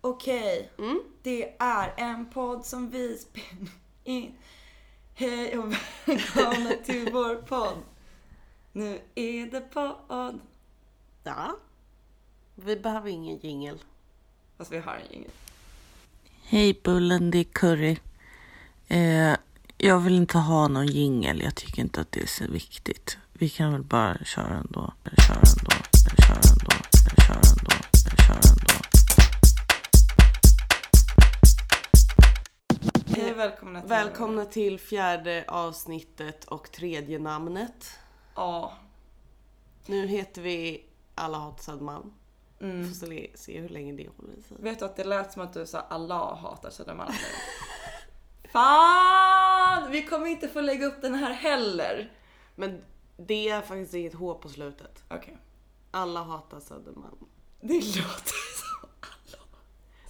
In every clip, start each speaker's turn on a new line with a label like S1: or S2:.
S1: Okej,
S2: Mm.
S1: det är en podd som vi spelar in. Hej och välkomna till vår podd. Nu är det podd.
S2: Ja. Vi behöver ingen jingel.
S1: Fast vi har en jingel.
S2: Hej Bullen, det är Curry. Eh, jag vill inte ha någon jingel. Jag tycker inte att det är så viktigt. Vi kan väl bara köra ändå. Köra ändå. Köra ändå. Köra ändå. Köra ändå.
S1: Hej och välkomna till...
S2: Välkomna till fjärde avsnittet och tredje namnet.
S1: Ja.
S2: Nu heter vi Alla hatar Sadman.
S1: Mm.
S2: Får se- se hur länge det håller i sig.
S1: Vet du att det lät som att du sa Allah hatar Södermalm. Fan! Vi kommer inte få lägga upp den här heller.
S2: Men det är faktiskt inget H på slutet.
S1: Okej.
S2: Alla hatar Södermalm.
S1: Det låter som Allah.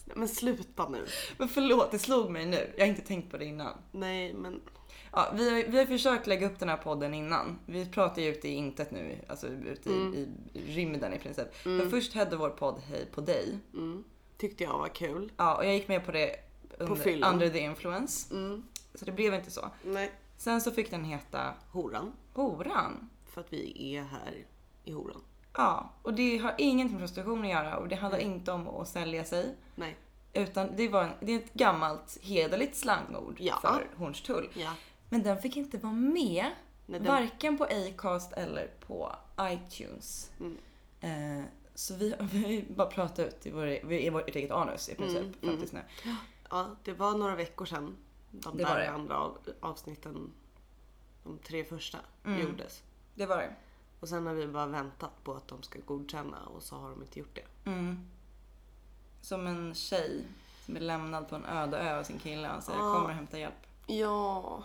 S2: Nej, Men sluta nu.
S1: Men förlåt, det slog mig nu. Jag har inte tänkt på det innan.
S2: Nej men
S1: Ja, vi, har, vi har försökt lägga upp den här podden innan. Vi pratar ju ute i intet nu, alltså ute i,
S2: Mm.
S1: i rymden i princip. Men först hette vår podd Hej på dig.
S2: mm, tyckte jag var kul.
S1: Ja, och jag gick med på det under,
S2: fyllan.
S1: under the influence.
S2: Mm.
S1: Så det blev inte så.
S2: Nej.
S1: Sen så fick den heta
S2: Horan.
S1: Horan.
S2: För att vi är här i horan.
S1: Ja, och det har ingenting med prostitution att göra och det handlar inte om att sälja sig.
S2: Nej.
S1: Utan det, var en, det är ett gammalt hederligt slangord
S2: Ja.
S1: för Hornstull.
S2: Ja.
S1: Men den fick inte vara med.
S2: Nej, den-
S1: Varken på Acast eller på iTunes.
S2: Mm.
S1: Eh, så vi, vi har ju bara pratat ut i, vår, i vårt eget anus i
S2: Mm,
S1: princip. faktiskt nu.
S2: ja, det var några veckor sedan de
S1: Det var
S2: där
S1: det.
S2: andra av, avsnitten, de tre första, gjordes.
S1: Det var det.
S2: Och sen har vi bara väntat på att de ska godkänna och så har de inte gjort det.
S1: Mm. Som en tjej som är lämnad på en öde ö av sin kille. Han
S2: Ah.
S1: säger kommer och hämta hjälp.
S2: Ja,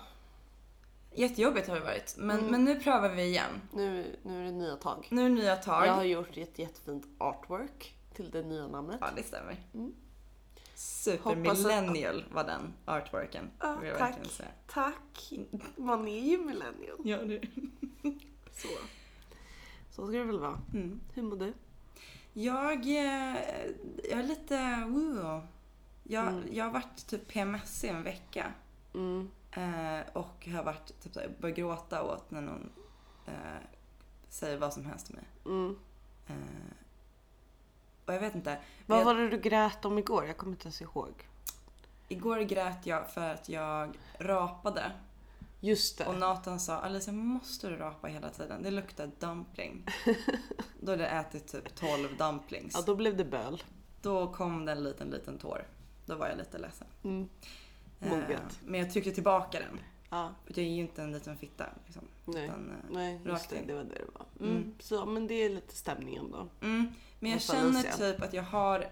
S1: Jättejobbigt har det varit. Men,
S2: Mm.
S1: men nu prövar vi igen.
S2: nu, nu är det nya tag.
S1: Nu är det nya tag.
S2: Jag har gjort ett jättefint artwork till det nya namnet.
S1: Ja, det stämmer.
S2: Mm.
S1: Supermillennial var den artworken.
S2: Ja,
S1: vill jag
S2: Ah, tack.
S1: verkligen säga.
S2: Tack! Man är ju millennial.
S1: Ja, det.
S2: Så. så ska det väl vara.
S1: Mm.
S2: Hur mår du?
S1: Jag, eh, jag är lite woo. Jag, jag har varit typ PMS i en vecka.
S2: Mm,
S1: Eh, och har varit typ såhär, börjat gråta åt när någon eh, säger vad som helst till mig.
S2: Mm.
S1: Eh, och jag vet inte.
S2: Vad
S1: jag,
S2: var det du grät om igår? Jag kommer inte ens ihåg.
S1: Igår grät jag för att jag rapade.
S2: Just det.
S1: Och Nathan sa Alicia måste du rapa hela tiden? Det luktar dumpling. då hade jag ätit typ 12 dumplings.
S2: Ja, då blev det böl.
S1: Då kom det en liten liten tår. Då var jag lite ledsen.
S2: Mm.
S1: Eh,
S2: Moget.
S1: Men jag tryckte tillbaka den.
S2: Ja,
S1: För jag är ju inte en liten fitta. Liksom.
S2: nej.
S1: Utan, eh,
S2: Nej, just
S1: rakt
S2: det.
S1: in.
S2: Det var det det var. Mm. Så, men det är lite stämningen då.
S1: mm. Men jag
S2: Hos
S1: känner
S2: Alicia.
S1: typ att jag har...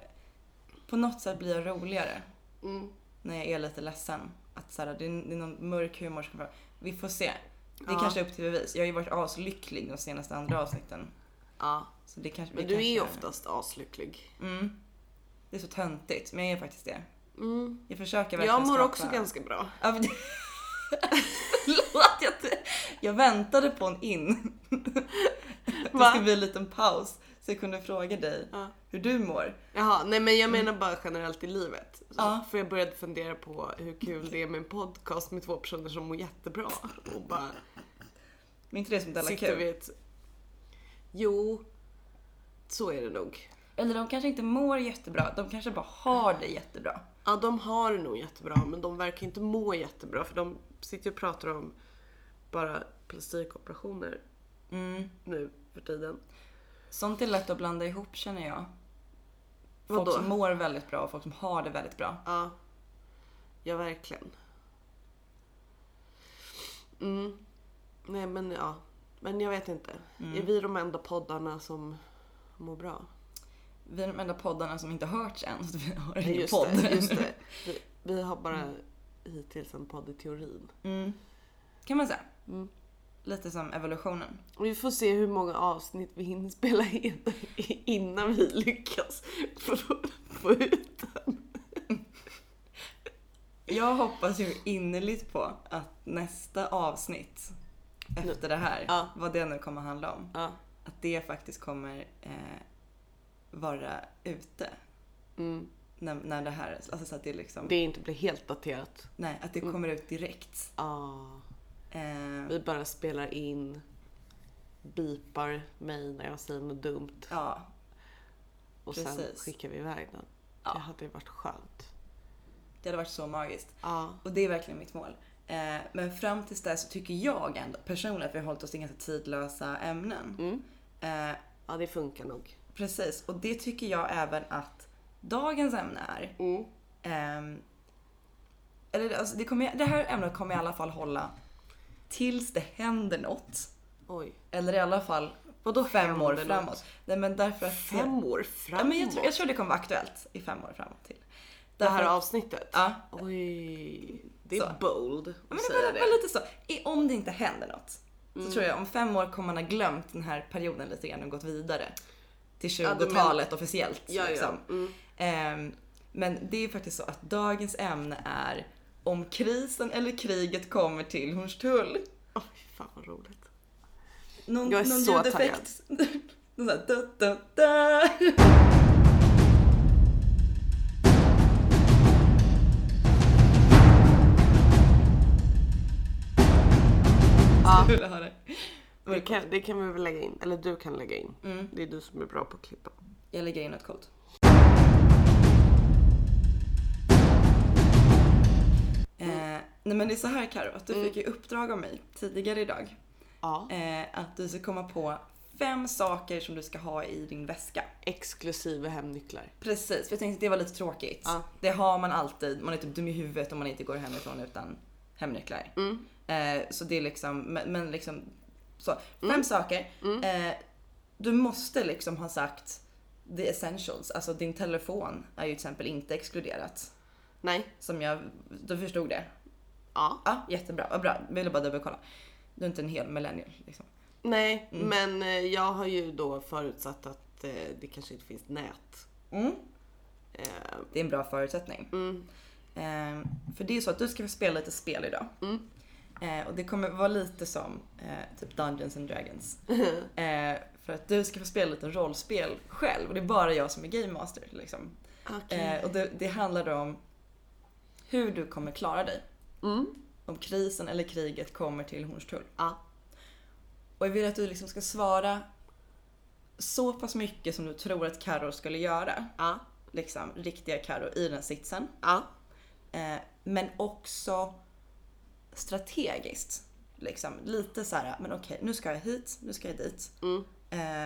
S1: På något sätt blir jag roligare
S2: Mm.
S1: när jag är lite ledsen. Att så här, det, är, det är någon mörk humor som kommer. Vi får se. Det är
S2: Ja.
S1: kanske upp till bevis. Jag har ju varit aslycklig de senaste andra avsnitten.
S2: Ja,
S1: Så det kanske,
S2: men
S1: det
S2: du är ju
S1: kanske-
S2: oftast aslycklig.
S1: Mm. Det är så töntigt, men jag är faktiskt det.
S2: Mm.
S1: Jag försöker verkligen
S2: Jag mår
S1: skapa...
S2: också ganska bra.
S1: Ja, men det- Förlåt, jag, jag väntade på en in. Det
S2: Va?
S1: skulle bli en liten paus så jag kunde fråga dig
S2: Ja.
S1: hur du mår.
S2: Jaha, nej men jag menar bara generellt i livet. Så,
S1: Ja.
S2: För jag började fundera på hur kul det är med en podcast med två personer som mår jättebra. Och bara
S1: Men inte det som Della
S2: sitter
S1: Q?
S2: vi ett... Jo, så är det nog.
S1: Eller de kanske inte mår jättebra, de kanske bara har det jättebra.
S2: Ja, de har det nog jättebra men de verkar inte må jättebra för de sitter och pratar om bara plastikoperationer
S1: Mm.
S2: nu för tiden.
S1: Sånt är lätt att blanda ihop känner jag. Folk
S2: Vadå?
S1: som mår väldigt bra och folk som har det väldigt bra.
S2: Ja, ja verkligen. Mm. Nej men ja, men jag vet inte. Är vi de enda poddarna som mår bra?
S1: Vi är de enda poddarna som inte hörts än, så vi har
S2: Nej,
S1: ingen
S2: just
S1: podd.
S2: Det, just det. Vi, vi har bara hittills en podd i teorin.
S1: Mm. Kan man säga.
S2: Mm.
S1: Lite som evolutionen.
S2: Vi får se hur många avsnitt vi hinner spela in innan vi lyckas få, få ut.
S1: Jag hoppas ju innerligt på att nästa avsnitt efter det här,
S2: Ja.
S1: vad det nu kommer handla om,
S2: Ja.
S1: att det faktiskt kommer eh, vara ute
S2: Mm.
S1: när, när det här, alltså så att det liksom,
S2: Det Mm. inte blir helt daterat.
S1: nej, att det kommer ut direkt.
S2: Ah,
S1: Eh,
S2: vi bara spelar in, bipar mig när jag säger något dumt
S1: ja,
S2: och sen
S1: precis.
S2: skickar vi iväg den.
S1: Ja.
S2: Det hade ju varit skönt.
S1: det hade varit så magiskt.
S2: Ja.
S1: Och det är verkligen mitt mål. Eh, men fram tills dess så tycker jag ändå personligen att vi har hållit oss till ganska tidlösa ämnen.
S2: Mm.
S1: Eh,
S2: ja, det funkar nog.
S1: precis, och det tycker jag även att dagens ämne är.
S2: Mm.
S1: Ehm, eller alltså, det, kommer, det här ämnet kommer i alla fall hålla tills det händer något.
S2: Oj.
S1: Eller i alla fall
S2: Vadå
S1: fem
S2: händer
S1: år
S2: något?
S1: framåt. Nej men därför att...
S2: Fem år
S1: ja,
S2: framåt?
S1: men jag, tror- jag tror det kommer vara aktuellt i fem år framåt till.
S2: det här
S1: Därför-
S2: avsnittet?
S1: Ja.
S2: Oj. Det är
S1: Så.
S2: bold
S1: Men
S2: att
S1: det var,
S2: säga
S1: det var
S2: det. Mm.
S1: lite så. I- Om det inte händer något så tror jag om fem år kommer man ha glömt den här perioden lite grann och gått vidare. Till
S2: Ja, du
S1: 20-talet officiellt.
S2: Ja, ja.
S1: liksom.
S2: Mm.
S1: Ehm, men det är faktiskt så att dagens ämne är om krisen eller kriget kommer till Hornstull.
S2: Oj, fan vad roligt.
S1: Någon,
S2: Jag är
S1: någon
S2: så
S1: ljudeffekt. Någon sån här, da, da, da.
S2: Ja.
S1: Vill du ha det?
S2: Det kan, det kan vi väl lägga in. Eller du kan lägga in.
S1: Mm.
S2: Det är du som är bra på att klippa.
S1: Jag lägger in något coolt. Eh, nej men det är så här Karo, att du fick ju uppdrag av mig tidigare idag.
S2: Ja.
S1: Eh, att du ska komma på fem saker som du ska ha i din väska.
S2: Exklusive hemnycklar.
S1: Precis, för jag tänkte att det var lite tråkigt.
S2: Ja.
S1: Det har man alltid, man är typ dum i huvudet om man inte går hemifrån utan hemnycklar.
S2: Mm.
S1: Eh, så det är liksom, men, men liksom så. Fem
S2: Mm.
S1: saker. Eh, du måste liksom ha sagt the essentials, alltså din telefon är ju till exempel inte exkluderat.
S2: Nej.
S1: Som jag, du förstod det?
S2: Ja.
S1: Ja, jättebra, vad bra. Ville bara dubbelkolla. Du är inte en hel millennial liksom.
S2: Nej, men eh, jag har ju då förutsatt att eh, det kanske inte finns nät.
S1: Mm.
S2: Eh,
S1: Det är en bra förutsättning.
S2: Mm.
S1: Eh, för det är så att du ska få spela lite spel idag.
S2: Mm.
S1: Eh, och det kommer vara lite som eh, typ Dungeons and Dragons. Eh, för att du ska få spela lite rollspel själv och det är bara jag som är Game Master. Liksom.
S2: Okej.
S1: Eh, och det, det handlar då om hur du kommer klara dig
S2: Mm.
S1: om krisen eller kriget kommer till Hornstull.
S2: Ja.
S1: Och jag vill att du liksom ska svara så pass mycket som du tror att Karo skulle göra.
S2: Ja.
S1: Liksom riktiga Karo i den här sitsen.
S2: Ja.
S1: Eh, men också strategiskt. Liksom, lite så här, men okej, nu ska jag hit, nu ska jag dit.
S2: Mm.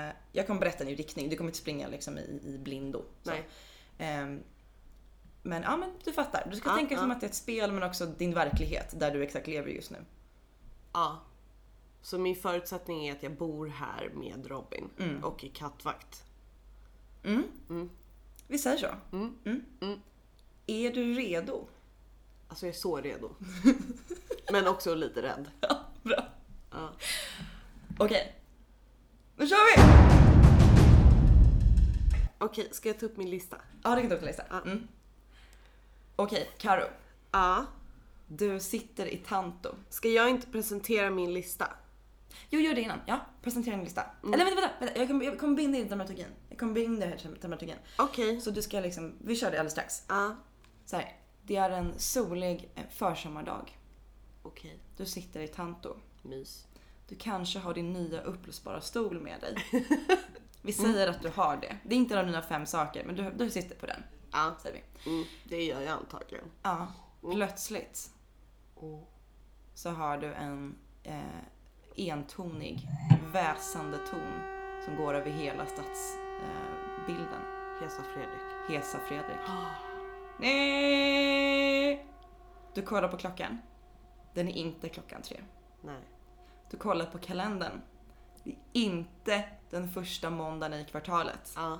S1: Eh, jag kommer berätta en ny riktning, du kommer inte springa liksom, i, i blindo. Så.
S2: Nej.
S1: Ehm, men ja, men du fattar. Du ska
S2: Ja,
S1: tänka
S2: ja.
S1: som att det är ett spel men också din verklighet, där du exakt lever just nu.
S2: Ja. Så min förutsättning är att jag bor här med Robin
S1: Mm.
S2: och är kattvakt.
S1: Mm.
S2: Mm.
S1: Vi säger så.
S2: Mm. Mm.
S1: Är du redo?
S2: Alltså jag är så redo. Men också lite rädd.
S1: Bra.
S2: Ja.
S1: Okej. Nu kör vi!
S2: Okej, ska jag ta upp min lista?
S1: Ja, det kan du också läsa.
S2: Ja.
S1: Mm. Okej, Karo.
S2: Ja.
S1: Du sitter i Tanto.
S2: Ska jag inte presentera min lista?
S1: Jo, gör det innan. Ja, presentera din lista. Eller vänta, vänta, vänta. Jag kommer, jag kommer binda in dramaturgin. Jag kommer binda in det här dramaturgin.
S2: Okej.
S1: Så du ska liksom, vi kör det alldeles strax.
S2: Ja.
S1: Så här, det är en solig eh, försommardag.
S2: Okej.
S1: Du sitter i Tanto.
S2: Mys.
S1: Du kanske har din nya uppblåsbara stol med dig. Vi säger att du har det. Det är inte de dina fem saker, men du, du sitter på den.
S2: Ja.
S1: Säger vi.
S2: Mm, det gör jag antagligen.
S1: Ja, plötsligt
S2: Mm.
S1: så har du en eh, entonig, väsande ton som går över hela stadsbilden. Eh, bilden.
S2: Hesa Fredrik.
S1: Hesa Fredrik. Nej! Du kollar på klockan. Den är inte klockan tre.
S2: Nej.
S1: Du kollar på kalendern. Det är inte den första måndagen i kvartalet.
S2: Ja.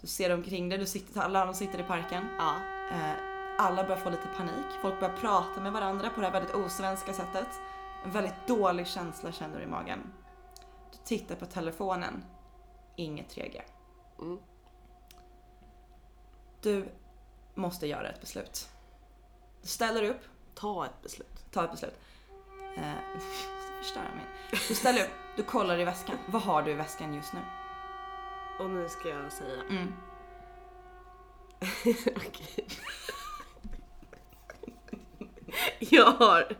S1: Du ser omkring dig, du sitter, alla de sitter i parken.
S2: Ja.
S1: Eh, alla börjar få lite panik. Folk börjar prata med varandra på det här väldigt osvenska sättet. En väldigt dålig känsla känner du i magen. Du tittar på telefonen. Inget 3G.
S2: Mm.
S1: Du måste göra ett beslut. Du ställer upp,
S2: Ta ett beslut.
S1: tar ett beslut. Eh, förstör jag min. Du ställer upp, du kollar i väskan. Mm. Vad har du i väskan just nu?
S2: Och nu ska jag säga.
S1: Mm.
S2: Okej. Jag har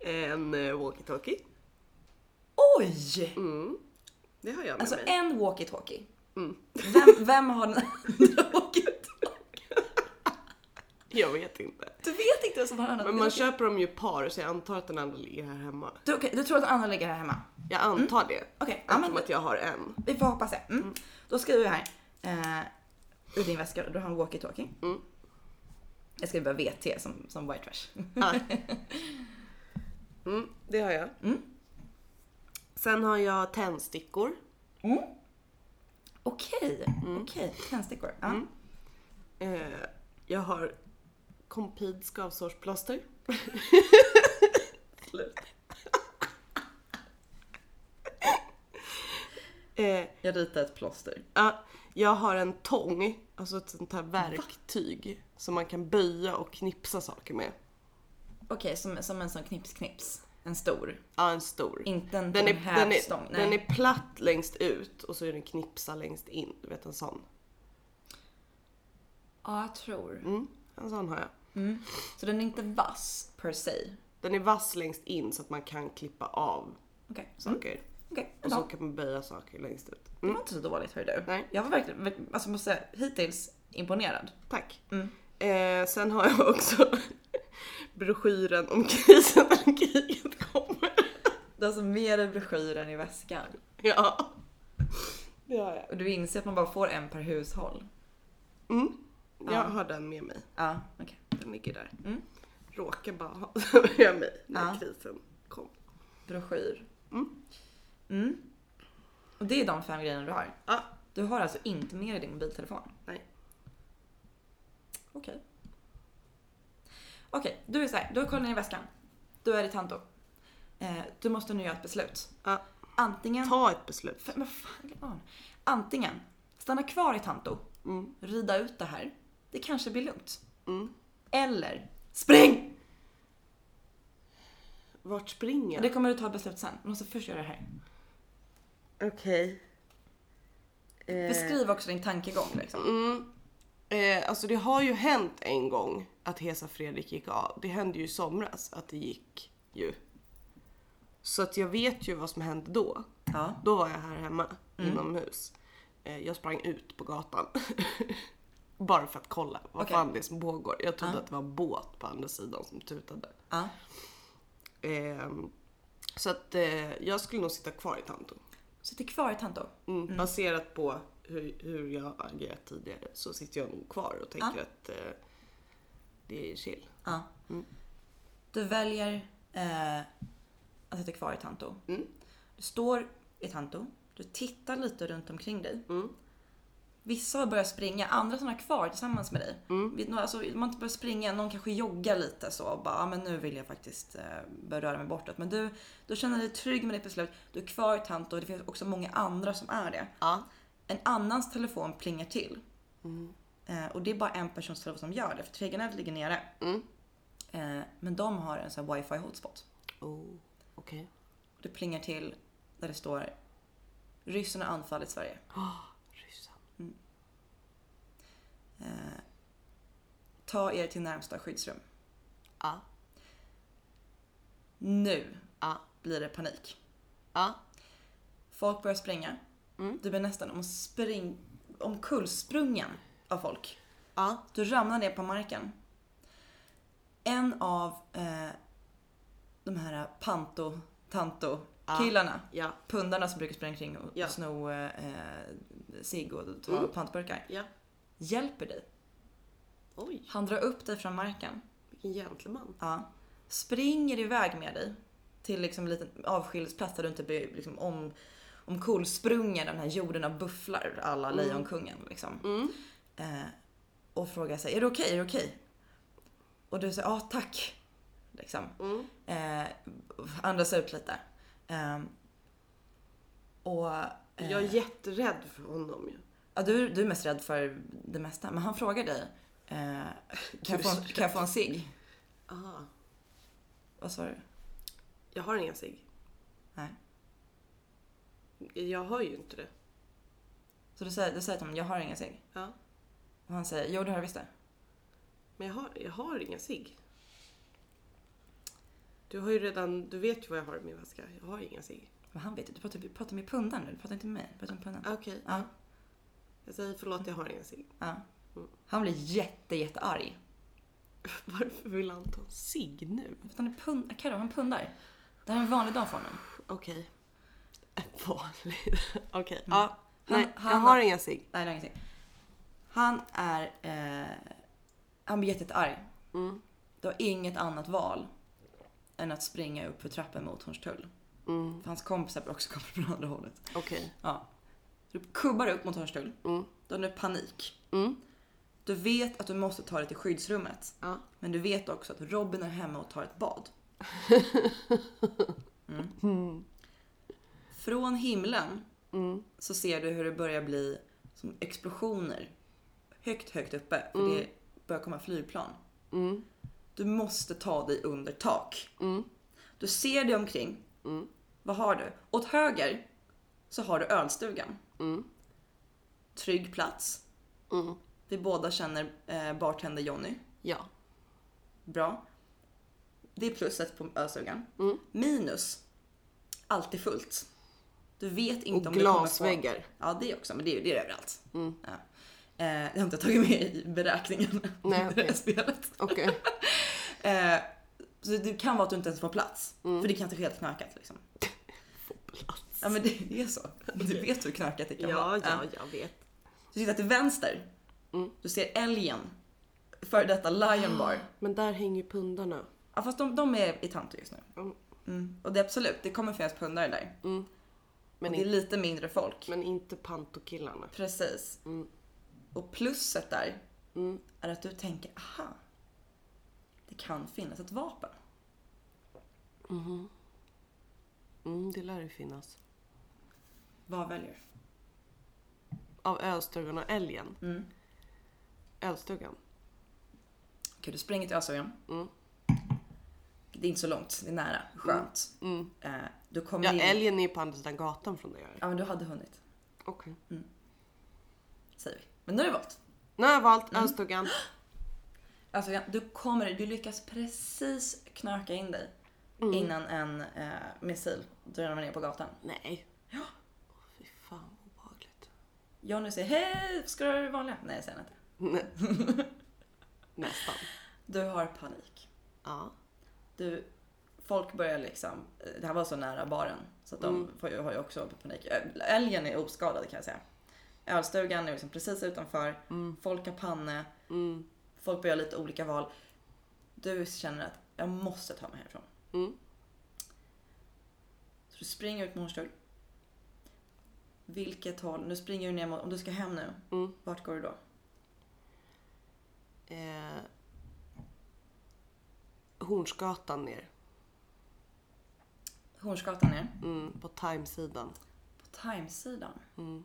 S2: en eh, walkie-talkie.
S1: Oj!
S2: Mm. Det har jag med
S1: Alltså
S2: mig.
S1: en walkie-talkie.
S2: Mm.
S1: Vem, vem har den andra walkie-talkie?
S2: Jag vet inte.
S1: Du vet inte vem som har den andra
S2: Men man
S1: walkie-talkie.
S2: köper dem ju par så jag antar att den andra ligger här hemma.
S1: Du, okej, du tror att Anna ligger här hemma?
S2: Jag antar Mm. det.
S1: Okej, ja,
S2: Eftersom
S1: men
S2: att jag har en.
S1: vi får hoppas det. Mm. Då skriver jag här. Eh, I din väska, du har en walkie-talkie.
S2: Mm.
S1: Jag skriver bara VT som, som white trash.
S2: Ja. Mm, det har jag.
S1: Mm.
S2: Sen har jag tändstickor.
S1: Mm. Okej,
S2: Mm.
S1: okej. Tändstickor. Ja.
S2: Eh, jag har Compid skavsårsplåster. Slut. eh,
S1: Jag ritar ett plåster.
S2: ja, jag har en tång, alltså ett sånt här verktyg som man kan böja och knipsa saker med.
S1: Okej, som, som en sån knips-knips. En stor.
S2: Ja, en stor.
S1: Inte en
S2: Den
S1: den
S2: är, den,
S1: hävstång.
S2: är,
S1: Nej.
S2: den är platt längst ut och så är den knipsa längst in. Du vet en sån.
S1: Ja, jag tror.
S2: Mm, en sån har jag.
S1: Mm. Så den är inte vass per se.
S2: Den är vass längst in så att man kan klippa av
S1: Okej, okay.
S2: saker.
S1: okej.
S2: Och så
S1: bra.
S2: kan man böja saker längst ut.
S1: Det
S2: Mm.
S1: var inte så dåligt hörru du.
S2: Nej.
S1: Jag var verkligen, verk- alltså måste säga, hittills imponerad.
S2: Tack.
S1: Mm.
S2: Eh, sen har jag också broschyren om krisen när kriget kommer.
S1: Du har alltså med dig broschyren i väskan.
S2: Ja. Det har jag.
S1: Och du inser att man bara får en per hushåll.
S2: Mm. Jag
S1: Ja.
S2: har den med mig.
S1: Ja, okej.
S2: Den ligger där.
S1: Mm.
S2: Råkar bara ha den med mig när
S1: Ja.
S2: krisen kom.
S1: Broschyr.
S2: Mm.
S1: Mm. Och det är de fem grejerna du har?
S2: Ja.
S1: Du har alltså inte med dig din mobiltelefon?
S2: Nej.
S1: Okej. Okej, du är så här. Du har kollat ner i väskan. Du är i Tanto. Eh, du måste nu göra ett beslut.
S2: Ja.
S1: Antingen...
S2: Ta ett beslut.
S1: F- Vad fan, lägg av nu. Antingen stanna kvar i Tanto,
S2: Mm.
S1: rida ut det här. Det kanske blir lugnt.
S2: Mm.
S1: Eller spring!
S2: Vart springer
S1: Det kommer du ta ett beslut sen. Du måste först göra det här.
S2: Okej. Eh,
S1: Beskriv också din tankegång liksom.
S2: Mm. Eh, alltså det har ju hänt en gång att Hesa Fredrik gick av. Det hände ju i somras att det gick ju. Så att jag vet ju vad som hände då.
S1: Ja.
S2: Då var jag här hemma
S1: Mm.
S2: inomhus. Eh, jag sprang ut på gatan. Bara för att kolla vad
S1: Okej.
S2: fan det är som pågår. Jag trodde
S1: Ja.
S2: att det var en båt på andra sidan som tutade.
S1: ja.
S2: Ehm, så att eh, jag skulle nog sitta kvar i Tanto.
S1: Sitter kvar i Tanto.
S2: Mm. Baserat på hur, hur jag har agerat tidigare så sitter jag nog kvar och tänker att eh, det är chill.
S1: Ja.
S2: Mm.
S1: Du väljer eh, att sitta kvar i Tanto.
S2: Mm.
S1: Du står i Tanto. Du tittar lite runt omkring dig.
S2: Mm.
S1: Vissa har börjat springa, andra stannar kvar tillsammans med dig.
S2: Mm.
S1: Vet några- Alltså, man inte börjar springa, någon kanske joggar lite så och bara, "Ah, men nu vill jag faktiskt eh, börja röra mig bortåt. Men du, du känner dig trygg med ditt beslut. Du är kvar i Tanto och det finns också många andra som är det.
S2: Ja.
S1: En annans telefon plingar till.
S2: Mm.
S1: Eh, och det är bara en persons telefon som gör det, för Träggarnät ligger nere.
S2: Mm.
S1: Eh, men de har en sån här wifi hotspot.
S2: Oh, okej.
S1: Det plingar till där det står Ryssen har anfallit Sverige.
S2: Ryssen.
S1: Eh, Ta er till närmsta skyddsrum.
S2: Ja.
S1: Nu
S2: Ja.
S1: blir det panik.
S2: Ja.
S1: Folk börjar springa.
S2: Mm.
S1: Du blir nästan om spring, omkullsprungen av folk.
S2: Ja.
S1: Du ramlar ner på marken. En av eh, de här panto, tanto
S2: Ja.
S1: killarna,
S2: Ja.
S1: pundarna som brukar springa kring och
S2: Ja.
S1: sno eh, cigg och ta
S2: Mm.
S1: pantburkar,
S2: Ja.
S1: hjälper dig.
S2: Oj,
S1: Han drar upp dig från marken.
S2: vilken gentleman.
S1: Ja. Springer iväg med dig till liksom en liten avskiljningsplats där du inte blir liksom om, omkullsprungen av den här jorden av bufflar alla Lejonkungen. Liksom.
S2: Mm.
S1: Eh, och frågar sig, är det okej? Är det okej? Och du säger, ja tack. Liksom.
S2: Mm.
S1: Eh, andas ut lite. Eh, och eh,
S2: Jag är jätterädd för honom ju.
S1: ja, du, du är mest rädd för det mesta, men han frågar dig, eh, kan, jag få, en- kan jag få en cigg?
S2: Aha.
S1: Vad sa du?
S2: Jag har ingen cigg.
S1: Nej.
S2: Jag har ju inte det.
S1: Så du säger, du säger till honom, jag har ingen cigg.
S2: Ja.
S1: Och Och han säger, jo det har jag visst det.
S2: Men jag har, jag har inga cigg. Du har ju redan, du vet ju vad jag har i min väska. Jag har inga cigg.
S1: Men han vet ju, du pratar, du pratar med pundan nu, du pratar inte med mig. Du pratar med pundan.
S2: Okej.
S1: Ja.
S2: Jag säger förlåt, jag har inga cigg.
S1: ja. Han blir jätte, jättearg.
S2: Varför vill han ta en cigg nu?
S1: För att han är pund... Carro, han pundar. Det här är en vanlig dag för honom.
S2: Okej. Vanlig. Okej. Ja.
S1: Han-
S2: Nej, jag
S1: han-
S2: har inga cigg.
S1: Nej, det är ingenting. Han är... Eh, han blir jättearg.
S2: Mm.
S1: Du har inget annat val än att springa upp för trappen mot Hornstull.
S2: Mm.
S1: För hans kompisar också kommer från andra hållet.
S2: Okej.
S1: Ja. Du kubbar upp mot Hornstull.
S2: Mm.
S1: Du har nu panik.
S2: Mm.
S1: Du vet att du måste ta dig till skyddsrummet.
S2: Ja.
S1: Men du vet också att Robin är hemma och tar ett bad. Mm. Från himlen
S2: Mm.
S1: så ser du hur det börjar bli som explosioner. Högt, högt uppe. För det börjar komma flygplan.
S2: Mm.
S1: Du måste ta dig under tak.
S2: Mm.
S1: Du ser dig omkring. Vad har du? Åt höger så har du ölstugan.
S2: Mm.
S1: Trygg plats.
S2: Mm.
S1: Vi båda känner eh, bartender Jonny.
S2: Ja.
S1: Bra. Det är plusset på ölstugan.
S2: Mm.
S1: Minus. Alltid fullt. Du vet inte
S2: Och
S1: om du kommer få...
S2: glasväggar.
S1: Ja, det också. Men det är ju det är överallt.
S2: Mm.
S1: Ja. Eh, det har inte jag tagit med i beräkningen. det
S2: Nej,
S1: här
S2: okej.
S1: spelet.
S2: Okej.
S1: Eh, så det kan vara att du inte ens får plats.
S2: Mm.
S1: För det kan inte ske helt knarkat. Liksom. Ja men det, det är så. Du vet hur knarkat det kan vara.
S2: jag vet.
S1: Du tittar till vänster.
S2: Mm.
S1: Du ser älgen. Före detta Lion Bar.
S2: Men där hänger ju pundarna.
S1: Ja, fast de, de är i Tanto just nu.
S2: Mm.
S1: Mm. Och det är absolut, det kommer finnas pundare där.
S2: Men,
S1: och det är
S2: in,
S1: lite mindre folk.
S2: men inte pantokillarna.
S1: Precis.
S2: Mm.
S1: Och plusset där
S2: Mm.
S1: är att du tänker, aha. Det kan finnas ett vapen.
S2: Mm, det lär ju finnas.
S1: Vad väljer du?
S2: Av ölstugan och älgen.
S1: Mm.
S2: Ölstugan.
S1: Okej, du springer till Ösöjan.
S2: Mm.
S1: Det är inte så långt, det är nära. Skönt.
S2: Mm.
S1: Eh, du kommer
S2: Ja,
S1: in.
S2: älgen är ju på andra sidan gatan från där jag är.
S1: Ja, men du hade hunnit.
S2: Okej.
S1: Säger vi. Men nu har du valt.
S2: Nu har jag valt
S1: Mm.
S2: ölstugan.
S1: Alltså, ja, du, kommer, du lyckas precis knarka in dig
S2: Mm.
S1: innan en eh, missil drar ner på gatan.
S2: Nej. Ja. Fy fan vad obehagligt.
S1: Johnny säger hej, ska du ha det vanliga? Nej, jag säger han inte.
S2: Nej. Nästan.
S1: Du har panik.
S2: Ja.
S1: Du, folk börjar liksom, eh, det här var så nära baren så att de får ju, har ju också panik. Ö- Älgen är oskadad kan jag säga. Ölstugan är liksom precis utanför, folk har panne,
S2: Mm.
S1: folk börjar göra lite olika val. Du känner att jag måste ta mig härifrån.
S2: Mm.
S1: Så du springer ut med Hornstull. Vilket håll? Nu springer du ner mot... Om du ska hem nu,
S2: Mm.
S1: vart går du då?
S2: Eh, Hornsgatan ner.
S1: Hornsgatan ner.
S2: Mm, på timesidan.
S1: På Timesidan.
S2: Mm.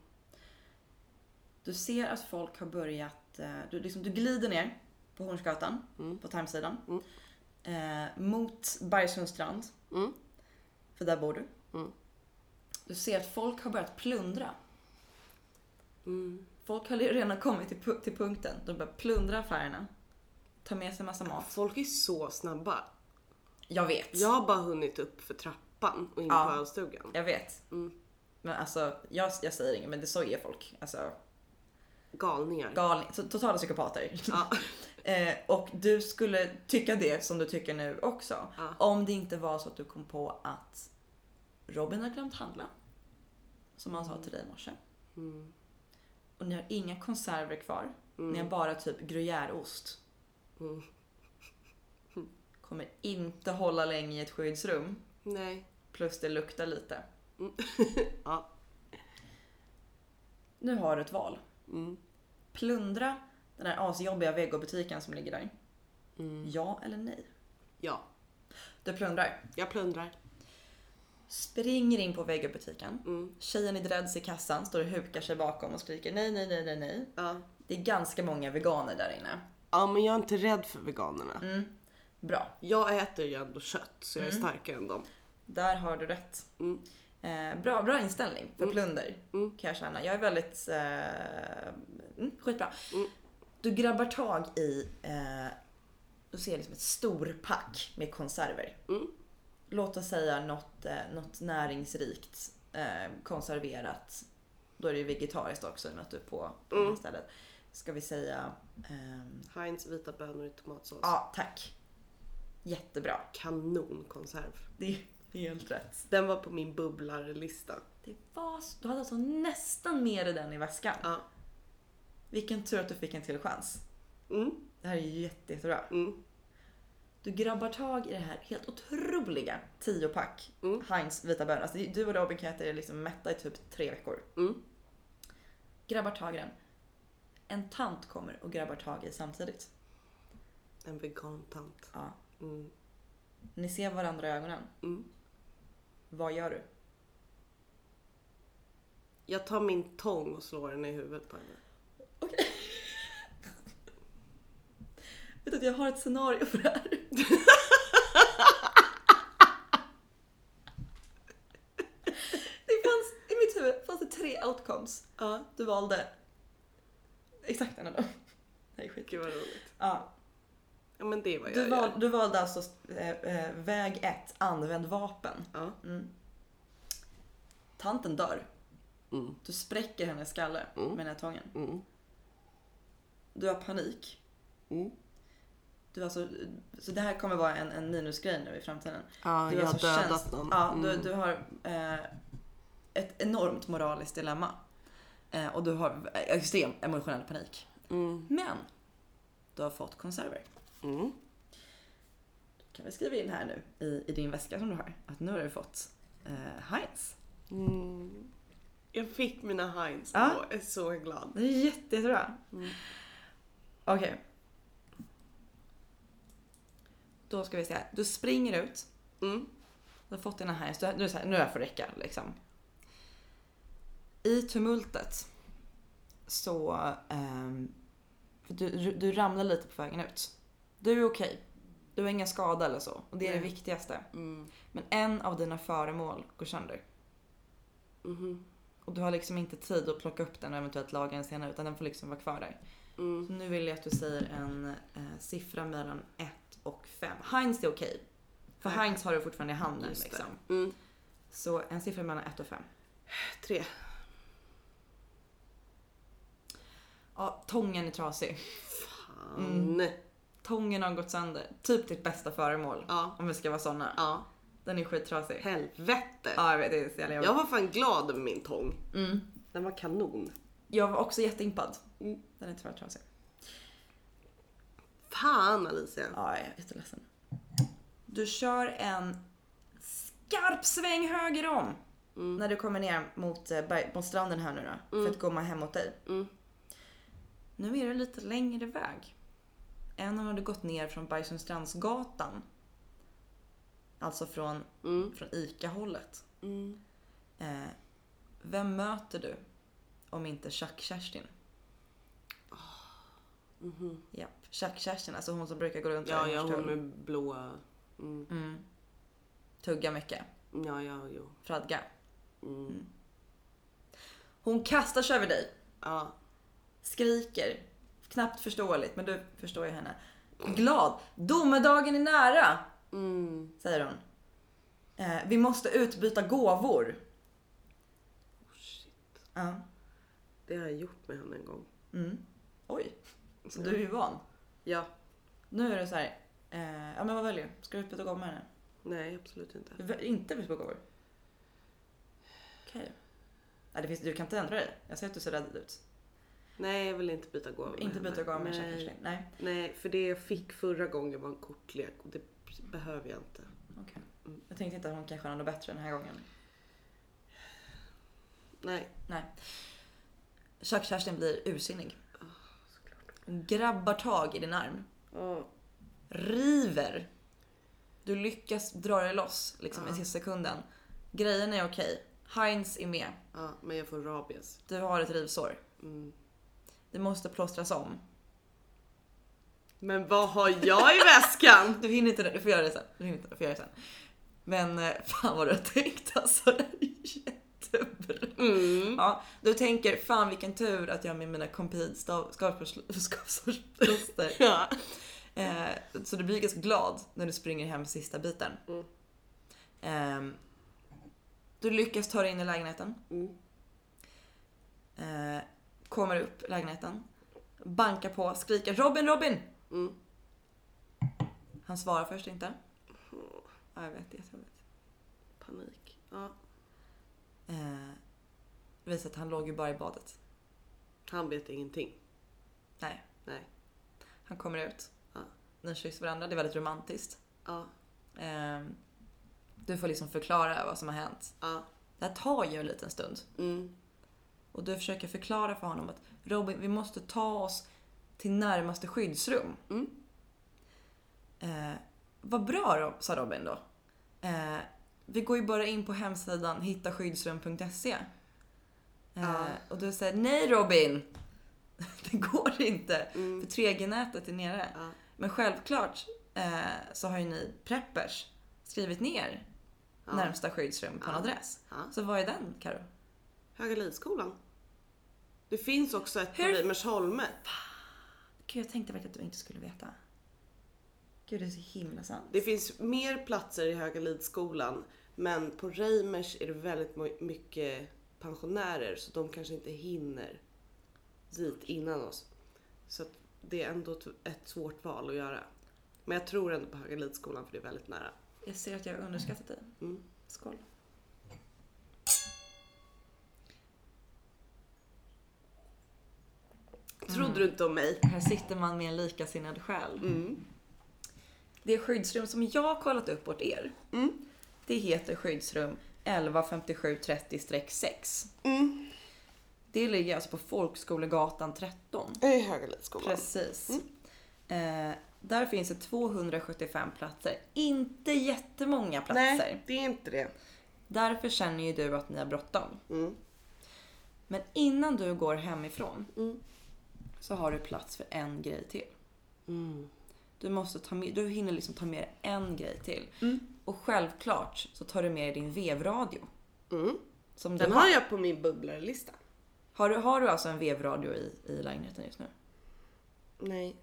S1: Du ser att folk har börjat... eh, Du, liksom, du glider ner på Hornsgatan,
S2: Mm.
S1: på Timesidan. Eh, mot Bergsunds strand.
S2: Mm.
S1: För där bor du.
S2: Mm.
S1: Du ser att folk har börjat plundra.
S2: Mm.
S1: Folk har redan kommit till, pu- till punkten. De börjar plundra affärerna. Ta med sig massa mat.
S2: Folk är så snabba.
S1: Jag vet.
S2: Jag har bara hunnit upp för trappan och in
S1: Ja.
S2: på ölstugan.
S1: Jag vet.
S2: Mm.
S1: Men alltså, jag, jag säger inget, men det så är folk. Alltså,
S2: Galningar.
S1: galning, så- totala psykopater.
S2: Ja.
S1: eh, och du skulle tycka det som du tycker nu också.
S2: Ja.
S1: Om det inte var så att du kom på att Robin har glömt handla. Som han sa till dig i morse.
S2: Mm.
S1: Och ni har inga konserver kvar. Ni har bara typ gruyèreost.
S2: Mm.
S1: Kommer inte hålla länge i ett skyddsrum.
S2: Nej.
S1: Plus det luktar lite.
S2: Mm. Ja.
S1: Nu har du ett val.
S2: Mm.
S1: Plundra den här asjobbiga vegobutiken som ligger där.
S2: Mm.
S1: Ja eller nej?
S2: Ja.
S1: Du plundrar.
S2: Jag plundrar.
S1: Springer in på vegobutiken.
S2: Mm.
S1: Tjejen i dreads i kassan står och hukar sig bakom och skriker nej, nej, nej, nej, nej.
S2: Ja.
S1: Det är ganska många veganer där inne.
S2: ja, men jag är inte rädd för veganerna.
S1: Mm. Bra,
S2: Jag äter ju ändå kött så jag är starkare än dem.
S1: där har du rätt.
S2: Mm.
S1: Eh, bra, bra inställning för plunder
S2: Mm.
S1: kan jag känna. Jag är väldigt... Eh, mm, skitbra.
S2: Mm.
S1: Du Du grabbar tag i, eh, du ser liksom ett storpack med konserver.
S2: Mm.
S1: Låt oss säga något, eh, något näringsrikt eh, konserverat. Då är det ju vegetariskt också i och med att du är på, på det här
S2: Mm.
S1: stället. Ska vi säga... ehm,
S2: Heinz vita bönor i tomatsås.
S1: ja, tack. Jättebra.
S2: Kanonkonserv.
S1: Det är helt rätt.
S2: Den var på min bubblarlista.
S1: Det var, s- du hade alltså nästan med dig den i väskan.
S2: Ja.
S1: Vilken tur att du fick en till chans.
S2: Mm,
S1: Det här är ju jätte, jättebra.
S2: mm.
S1: Du grabbar tag i det här helt otroliga 10-pack
S2: Mm.
S1: Heinz vita bönor. Alltså, du och Robin kan äta er liksom mätta i typ tre veckor.
S2: Mm.
S1: Grabbar tag i den. En tant kommer och grabbar tag i samtidigt.
S2: En vegantant.
S1: Ja.
S2: Mm,
S1: Ni ser varandra i ögonen.
S2: mm.
S1: Vad gör du?
S2: Jag tar min tång och slår den i huvudet på henne.
S1: Vet du att jag har ett scenario för det här? det fanns, I mitt huvud fanns det tre outcomes.
S2: Ja.
S1: Du valde exakt en av dem. Det är skitkul.
S2: Gud vad roligt.
S1: Ja.
S2: Ja men det är vad jag
S1: Du,
S2: gör.
S1: val, du valde alltså eh, eh, väg ett, använd vapen.
S2: Ja.
S1: Mm. Tanten dör.
S2: Mm.
S1: Du spräcker hennes skalle
S2: Mm.
S1: med den här tången.
S2: Mm.
S1: Du har panik.
S2: Mm.
S1: Du alltså, så det här kommer vara en, en minusgrej nu i framtiden.
S2: Ja,
S1: Du
S2: jag har
S1: alltså
S2: dödat
S1: känns-
S2: någon.
S1: Ja, du,
S2: Mm.
S1: du har eh, ett enormt moraliskt dilemma. Eh, och du har extrem emotionell panik.
S2: Mm.
S1: Men du har fått konserver.
S2: Mm.
S1: Kan vi skriva in här nu i, i din väska som du har att nu har du fått eh, Heinz.
S2: Mm. Jag fick mina Heinz
S1: Ja.
S2: och är så glad.
S1: Det är jätte, jättebra.
S2: Mm.
S1: Okej. Då ska vi se. Du springer ut.
S2: Mm.
S1: Du har fått dina Heinz. Du, nu, är det så här, nu är jag för räcka liksom. I tumultet så... ehm, för du, du ramlar lite på vägen ut. Du är okej. Du har ingen skada eller så. Och det är det
S2: Nej.
S1: viktigaste.
S2: Mm.
S1: Men en av dina föremål går sönder.
S2: Mhm.
S1: Och du har liksom inte tid att plocka upp den och eventuellt laga den senare utan den får liksom vara kvar där.
S2: Mm.
S1: Så nu vill jag att du säger en eh, siffra mellan 1 och 5. Heinz är okej. För Heinz har du fortfarande i handen
S2: Just det.
S1: liksom.
S2: Mm.
S1: Så en siffra mellan 1 och 5.
S2: Tre.
S1: Ja, tången är trasig. Mm.
S2: Fan.
S1: Tången har gått sönder. Typ ditt bästa föremål.
S2: Ja.
S1: Om vi ska vara såna.
S2: Ja.
S1: Den är skittrasig.
S2: Helvete.
S1: Ja, jag vet. Det är så jävla
S2: Jag
S1: jobbigt.
S2: var fan glad över min tång.
S1: Mm.
S2: Den var kanon.
S1: Jag var också jätteimpad.
S2: Mm.
S1: Den är tyvärr trasig.
S2: Fan Alicia.
S1: Ja, jag är jätteledsen. Du kör en skarp sväng höger om.
S2: Mm.
S1: När du kommer ner mot, eh, berg, mot stranden här nu då. För att komma hem mot dig.
S2: Mm.
S1: Nu är det lite längre väg. Än har du gått ner från Bergsundstrandsgatan. Alltså från,
S2: Mm.
S1: från ICA-hållet.
S2: Mm.
S1: Eh, vem möter du om inte Tjack-Kerstin?
S2: Mhm.
S1: Japp. Tjack-Kerstin, alltså hon som brukar gå runt
S2: Ja,
S1: i
S2: ja hon
S1: Hornstull.
S2: med blåa... Mm.
S1: mm. Tugga mycket,
S2: Ja, ja, jo.
S1: fradga.
S2: Mm.
S1: Hon kastar sig över dig,
S2: Ja.
S1: skriker. Knappt förståeligt, men du förstår ju henne. Glad. Domedagen är nära,
S2: Mm.
S1: säger hon. Eh, vi måste utbyta gåvor.
S2: Oh, shit.
S1: Ja.
S2: Det har jag gjort med henne en gång.
S1: Mm. Oj, så du är ju van.
S2: Ja.
S1: Nu är det så här. Eh, ja men vad väljer du? Ska du utbyta gåvor med henne?
S2: Nej, absolut inte.
S1: Du väljer Inte utbyta gåvor? Okej. Nej, det finns, du kan inte ändra dig. Jag ser att du ser rädd ut.
S2: Nej, jag vill inte byta gåva med
S1: Inte byta
S2: henne.
S1: gåvor med
S2: Nej.
S1: Kerstin. Nej.
S2: Nej, för det jag fick förra gången var en kortlek och det behöver jag inte.
S1: Okej.
S2: Mm.
S1: Jag tänkte inte att hon kanske har något bättre den här gången.
S2: Nej.
S1: Kerstin blir ursinnig. Hon grabbar tag i din arm.
S2: Ja.
S1: River. Du lyckas dra dig loss liksom, i
S2: Ja.
S1: sista sekunden. Grejen är okej. Heinz är med.
S2: ja, men jag får rabies.
S1: Du har ett rivsår.
S2: Mm.
S1: Det måste plåstras om.
S2: Men vad har jag i väskan?
S1: Du hinner inte det, du får göra det sen. Du hinner inte, du får göra det sen. Men eh, fan vad du har tänkt alltså. Det är jättebra.
S2: Mm.
S1: Ja, då tänker fan vilken tur att jag med mina compete stav- skavsårs- skavsårsplåster.
S2: Ja.
S1: Eh, så du blir ganska glad när du springer hem sista biten.
S2: Mm.
S1: Ehm, du lyckas ta dig in i lägenheten.
S2: Mm.
S1: Eh, kommer upp i lägenheten. Bankar på, skriker Robin, Robin!
S2: Mm.
S1: Han svarar först inte. Ja, jag vet det. Jag vet.
S2: Panik. Ja.
S1: Eh, det visar att han låg ju bara i badet.
S2: Han vet ingenting.
S1: Nej.
S2: Nej.
S1: Han kommer ut.
S2: Ja.
S1: Ni kysser varandra. Det är väldigt romantiskt.
S2: Ja.
S1: Ehm, du får liksom förklara vad som har hänt.
S2: Ja.
S1: Det här tar ju en liten stund.
S2: Mm.
S1: Och du försöker förklara för honom att Robin, vi måste ta oss till närmaste skyddsrum.
S2: Mm.
S1: Eh, vad bra då, sa Robin då. Eh, vi går ju bara in på hemsidan hittaskyddsrum.se. Eh,
S2: Ja.
S1: Och du säger nej Robin! Det går inte, för 3G-nätet är nere.
S2: Mm. Ja.
S1: Men självklart eh, så har ju ni preppers skrivit ner
S2: Ja.
S1: närmsta skyddsrum på en
S2: Ja.
S1: adress.
S2: Ja.
S1: Så vad är den Karo?
S2: Högalidsskolan. Det finns också ett på
S1: Hur-
S2: Reimersholme.
S1: Gud, jag tänkte verkligen att du inte skulle veta. Gud, det är så himla sant.
S2: Det finns mer platser i Högalidsskolan men på Reimers är det väldigt mo- mycket pensionärer så de kanske inte hinner dit innan oss. Så att det är ändå t- ett svårt val att göra. Men jag tror ändå på Högalidsskolan för det är väldigt nära.
S1: Jag ser att jag har underskattat dig.
S2: Mm.
S1: Skål. Mm.
S2: Trodde du inte om mig?
S1: Här sitter man med en likasinnad själ.
S2: Mm.
S1: Det skyddsrum som jag har kollat upp åt er,
S2: Mm.
S1: det heter skyddsrum 115730-6.
S2: Mm.
S1: Det ligger alltså på Folkskolegatan 13.
S2: Jag är i Högalidsskolan.
S1: Precis.
S2: Mm.
S1: Eh, där finns det 275 platser. Inte jättemånga platser.
S2: Nej, det är inte det.
S1: Därför känner ju du att ni har bråttom.
S2: Mm.
S1: Men innan du går hemifrån
S2: Mm.
S1: så har du plats för en grej till.
S2: Mm.
S1: Du, måste ta med, du hinner liksom ta med dig en grej till. Och självklart så tar du med dig din vevradio.
S2: Mm.
S1: Som
S2: Den
S1: du
S2: har jag på min bubblarlista.
S1: Har, du, har du alltså en vevradio i, i lägenheten just nu?
S2: Nej.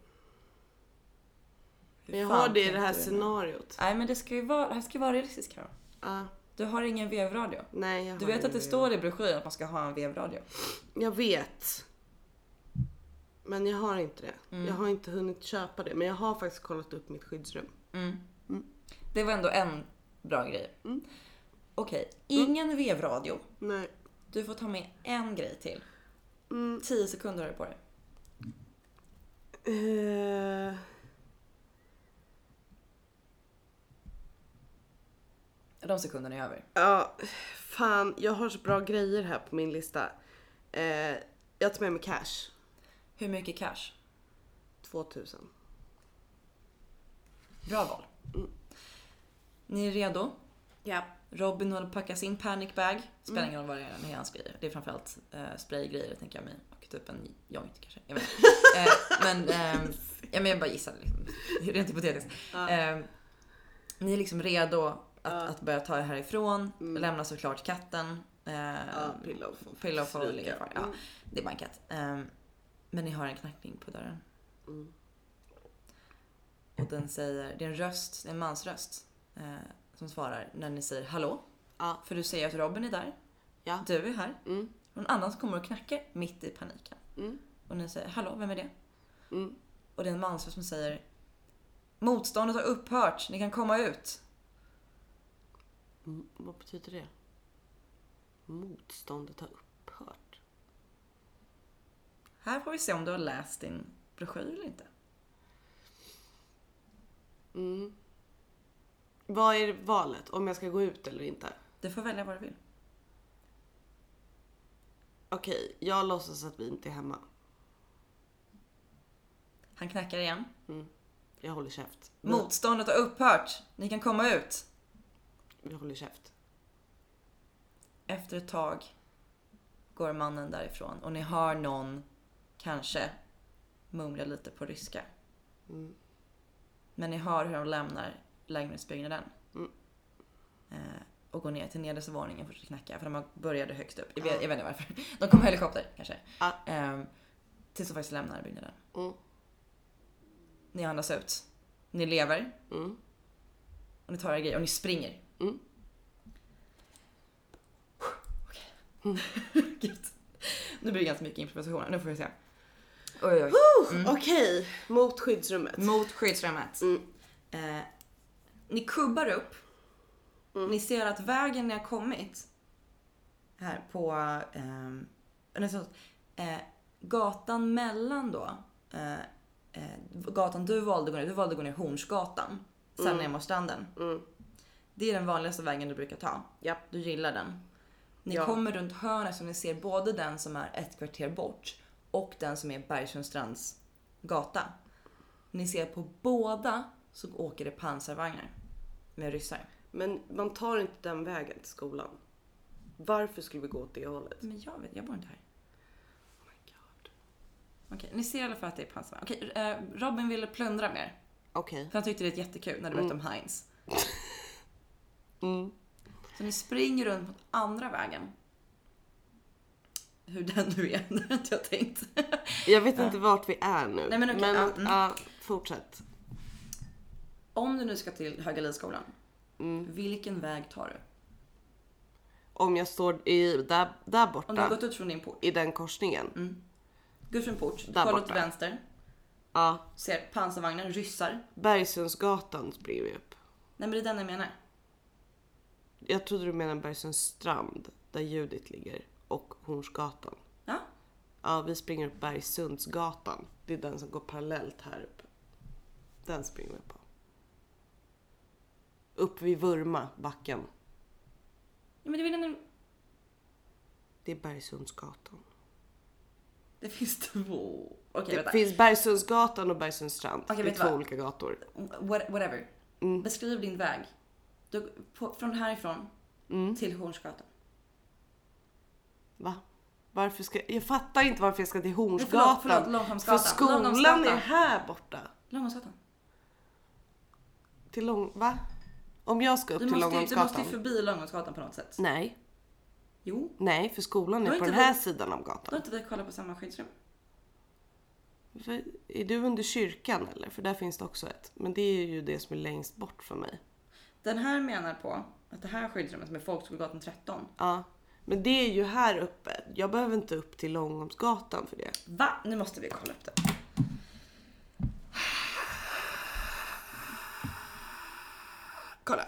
S1: Hur
S2: Men jag
S1: fan
S2: har det i
S1: tänkte
S2: det här
S1: du nu?
S2: scenariot.
S1: Nej men det ska ju vara, det här ska ju vara realistiskt Karo.
S2: Ah,
S1: Du har ingen vevradio.
S2: nej, jag
S1: Du
S2: har
S1: vet att det
S2: i-
S1: står i broschyren att man ska ha en vevradio.
S2: Jag vet. Men jag har inte det.
S1: Mm.
S2: Jag har inte hunnit köpa det. Men jag har faktiskt kollat upp mitt skyddsrum.
S1: Mm.
S2: Mm.
S1: Det var ändå en bra grej. Okej,
S2: Mm.
S1: ingen vevradio.
S2: Nej.
S1: Du får ta med en grej till.
S2: Mm.
S1: 10 sekunder har du på dig.
S2: Eh,
S1: De sekunderna är över.
S2: ja, fan. Jag har så bra grejer här på min lista. Eh, jag tar med mig cash.
S1: Hur mycket cash?
S2: 2000.
S1: Bra val. Ni är redo?
S2: Ja.
S1: Robin håller på att packa sin panic bag. Spelar ingen roll vad det är med hans grejer. Det är framförallt eh, spraygrejer tänker jag mig. Och typ en joint kanske. Jag vet inte. eh, men, ehm, ja, men jag bara gissar liksom. Rent hypotetiskt. Eh, ni är liksom redo att, att börja ta er härifrån. Lämna såklart katten. Eh,
S2: Ja, pillow får-
S1: Pillow får
S2: stryka.
S1: ligga kvar. Ja,
S2: Mm.
S1: det är bara en katt. Ehm, men ni har en knackning på dörren.
S2: Mm.
S1: Och den säger, det är en röst, det är en mansröst eh, som svarar när ni säger hallå.
S2: Ja.
S1: För du säger att Robin är där,
S2: Ja.
S1: du är här.
S2: Mm.
S1: Någon annan som kommer och knackar mitt i paniken.
S2: Mm.
S1: Och ni säger hallå, vem är det?
S2: Mm.
S1: Och det är en mansröst som säger Motståndet har upphört, ni kan komma ut.
S2: Mm, Vad betyder det? Motståndet har upphört.
S1: Här får vi se om du har läst din broschyr eller inte.
S2: Mm. Vad är valet? Om jag ska gå ut eller inte?
S1: Du får välja vad du vill.
S2: Okej, jag låtsas att vi inte är hemma.
S1: Han knackar igen.
S2: Mm. Jag håller käft.
S1: Motståndet har upphört, ni kan komma ut.
S2: Jag håller käft.
S1: Efter ett tag går mannen därifrån och ni hör någon kanske mumla lite på ryska.
S2: Mm. Mm.
S1: Men ni hör hur de lämnar lägenhetsbyggnaden. Eh, och går ner till nedersta våningen för att knacka för de började högst upp. Jag vet, jag vet inte varför. De kom med helikopter kanske.
S2: Ja.
S1: Ehm, tills de faktiskt lämnar byggnaden.
S2: Mm.
S1: Ni andas ut. Ni lever.
S2: Mm.
S1: Och ni tar era grejer och ni springer.
S2: Mm.
S1: Mm. Okej. Gud. Nu blir det ganska mycket improvisationer. Nu får vi se. Oj, oj, oj.
S2: Okej, Mm. mot skyddsrummet.
S1: Mot skyddsrummet.
S2: Mm.
S1: Eh, ni kubbar upp. Ni ser att vägen ni har kommit här på ehm, eller så, eh, gatan mellan då eh, eh, gatan du valde att gå ner. Du valde att gå ner Hornsgatan. Sen ner mot stranden.
S2: Mm.
S1: Det är den vanligaste vägen du brukar ta.
S2: Japp.
S1: Du gillar den. Ni
S2: Ja.
S1: kommer runt hörnet som ni ser både den som är ett kvarter bort och den som är Bergsundstrands gata. Ni ser på båda så åker det pansarvagnar med ryssar.
S2: Men man tar inte den vägen till skolan. Varför skulle vi gå åt det hållet?
S1: Men jag vet, jag bor inte här.
S2: Oh my god.
S1: Okej, ni ser i alla fall att det är pansarvagnar. Okej, eh, Robin ville plundra mer.
S2: Okej.
S1: För han tyckte det var jättekul när du berättade om Heinz.
S2: Mm.
S1: Så ni springer runt mot andra vägen. Hur den nu är, det har inte jag tänkt.
S2: Jag vet inte vart vi är nu.
S1: Nej, men okej, ja, mm.
S2: ja, fortsätt.
S1: Om du nu ska till Högalidsskolan,
S2: Mm.
S1: vilken väg tar du?
S2: Om jag står i, där, där borta.
S1: Om du har gått ut från din port,
S2: I den korsningen.
S1: går ut från port,
S2: Där
S1: kollar åt
S2: borta.
S1: vänster,
S2: Ja.
S1: ser pansarvagnar, ryssar.
S2: Bergsundsgatan springer vi upp.
S1: Nej men det är den jag menar.
S2: Jag trodde du menade Bergsunds strand där Judit ligger och Hornsgatan.
S1: Ja,
S2: Ja, vi springer upp Bergsundsgatan. Det är den som går parallellt här uppe. Den springer vi på. Upp vid Vurma, backen.
S1: Ja, men det, är väl den,
S2: Det är Bergsundsgatan.
S1: det finns två. Okej
S2: det
S1: vänta.
S2: finns Bergsundsgatan och Bergsunds strand.
S1: Okej,
S2: det
S1: vet
S2: är
S1: du
S2: två
S1: vad?
S2: olika gator.
S1: What, whatever.
S2: Mm.
S1: Beskriv din väg. Du, på, från härifrån
S2: Mm.
S1: till Hornsgatan.
S2: Va? Varför ska... Jag fattar inte varför jag ska till Hornsgatan.
S1: förlåt, förlåt, Långholmsgatan.
S2: För skolan är
S1: Långholmsgatan.
S2: här borta.
S1: Långholmsgatan.
S2: Till Lång... Va? Om jag ska upp
S1: Du
S2: till
S1: måste, ju- du måste
S2: Långholmsgatan?
S1: ju förbi Långholmsgatan på något sätt.
S2: Nej,
S1: Jo.
S2: nej, för skolan
S1: Du har
S2: är på
S1: inte
S2: den här
S1: varit-
S2: sidan om
S1: Då har
S2: gatan.
S1: inte vi kollat på samma skyddsrum.
S2: För- Är du under kyrkan eller? För där finns det också ett. Men det är ju det som är längst bort från mig.
S1: Den här menar på att det här skyddsrummet som är Folkskolgatan 13.
S2: Ja, men det är ju här uppe. Jag behöver inte upp till Långholmsgatan för det.
S1: Va? Nu måste vi kolla upp det. Kolla.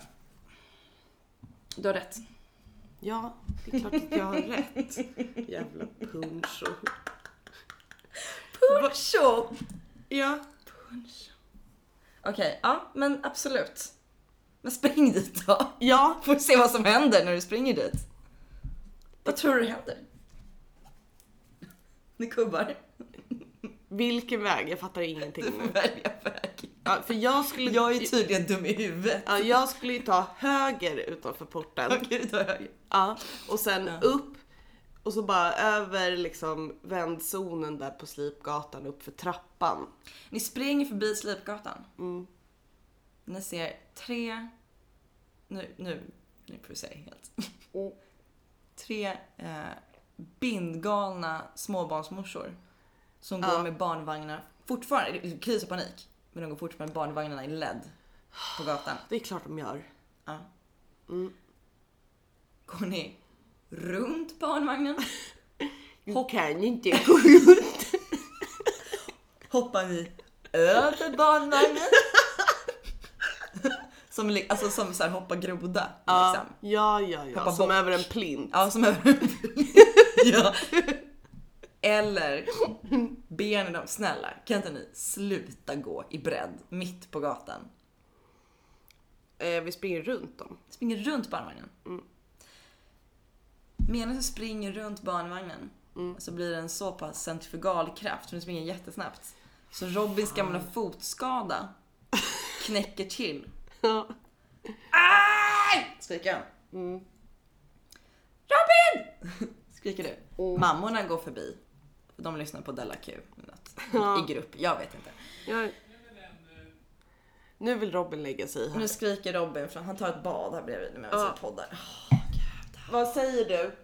S1: Du har rätt.
S2: Ja, det är klart att jag har rätt. Jävla puncho.
S1: Puncho!
S2: Ja,
S1: Okej, ja men absolut. Men spring dit då.
S2: ja,
S1: Får se vad som händer när du springer dit. Vad tror du händer? Ni kubbar.
S2: vilken väg? Jag fattar ingenting
S1: Du får
S2: nu.
S1: välja väg.
S2: Ja, för jag skulle,
S1: Jag är typ- tydligen dum i huvudet.
S2: ja, jag skulle ju ta höger utanför porten.
S1: Okej, då är jag.
S2: Ja, och sen upp och så bara över liksom vändzonen där på Slipgatan upp för trappan. Mm.
S1: Ni springer förbi Slipgatan. Ni ser tre... Nu, nu, nu improviserar jag helt. Tre eh, bindgalna småbarnsmorsor som går med barnvagnar. Fortfarande, det är kris och panik, men de går fortfarande med barnvagnarna i LED på gatan.
S2: Det är klart de gör.
S1: Ja. Mm. Går ni runt barnvagnen?
S2: Du kan ju inte gå runt.
S1: hoppar ni över barnvagnen. som, li- alltså, som så här, hoppa groda.
S2: Ja,
S1: Liksom.
S2: ja, ja, ja.
S1: Hoppa
S2: som
S1: bock.
S2: över en plint.
S1: Ja, som över ja. Eller ber ni dem, snälla kan inte ni sluta gå i bredd mitt på gatan?
S2: Eh, vi springer runt dem.
S1: Springer runt barnvagnen. Mm. Medan du springer runt barnvagnen så blir det en så pass centrifugal kraft, för du springer jättesnabbt. Så Robins gamla fotskada knäcker till
S2: Ja.
S1: Skriker han.
S2: Mm.
S1: Robin! Skriker du.
S2: Mm.
S1: Mammorna går förbi. De lyssnar på Della Q. eller något. I grupp, jag vet inte.
S2: Jag... Nu vill Robin lägga sig här.
S3: Nu skriker Robin för han tar ett bad här bredvid när vi
S2: Ja.
S3: poddar.
S2: Vad säger du?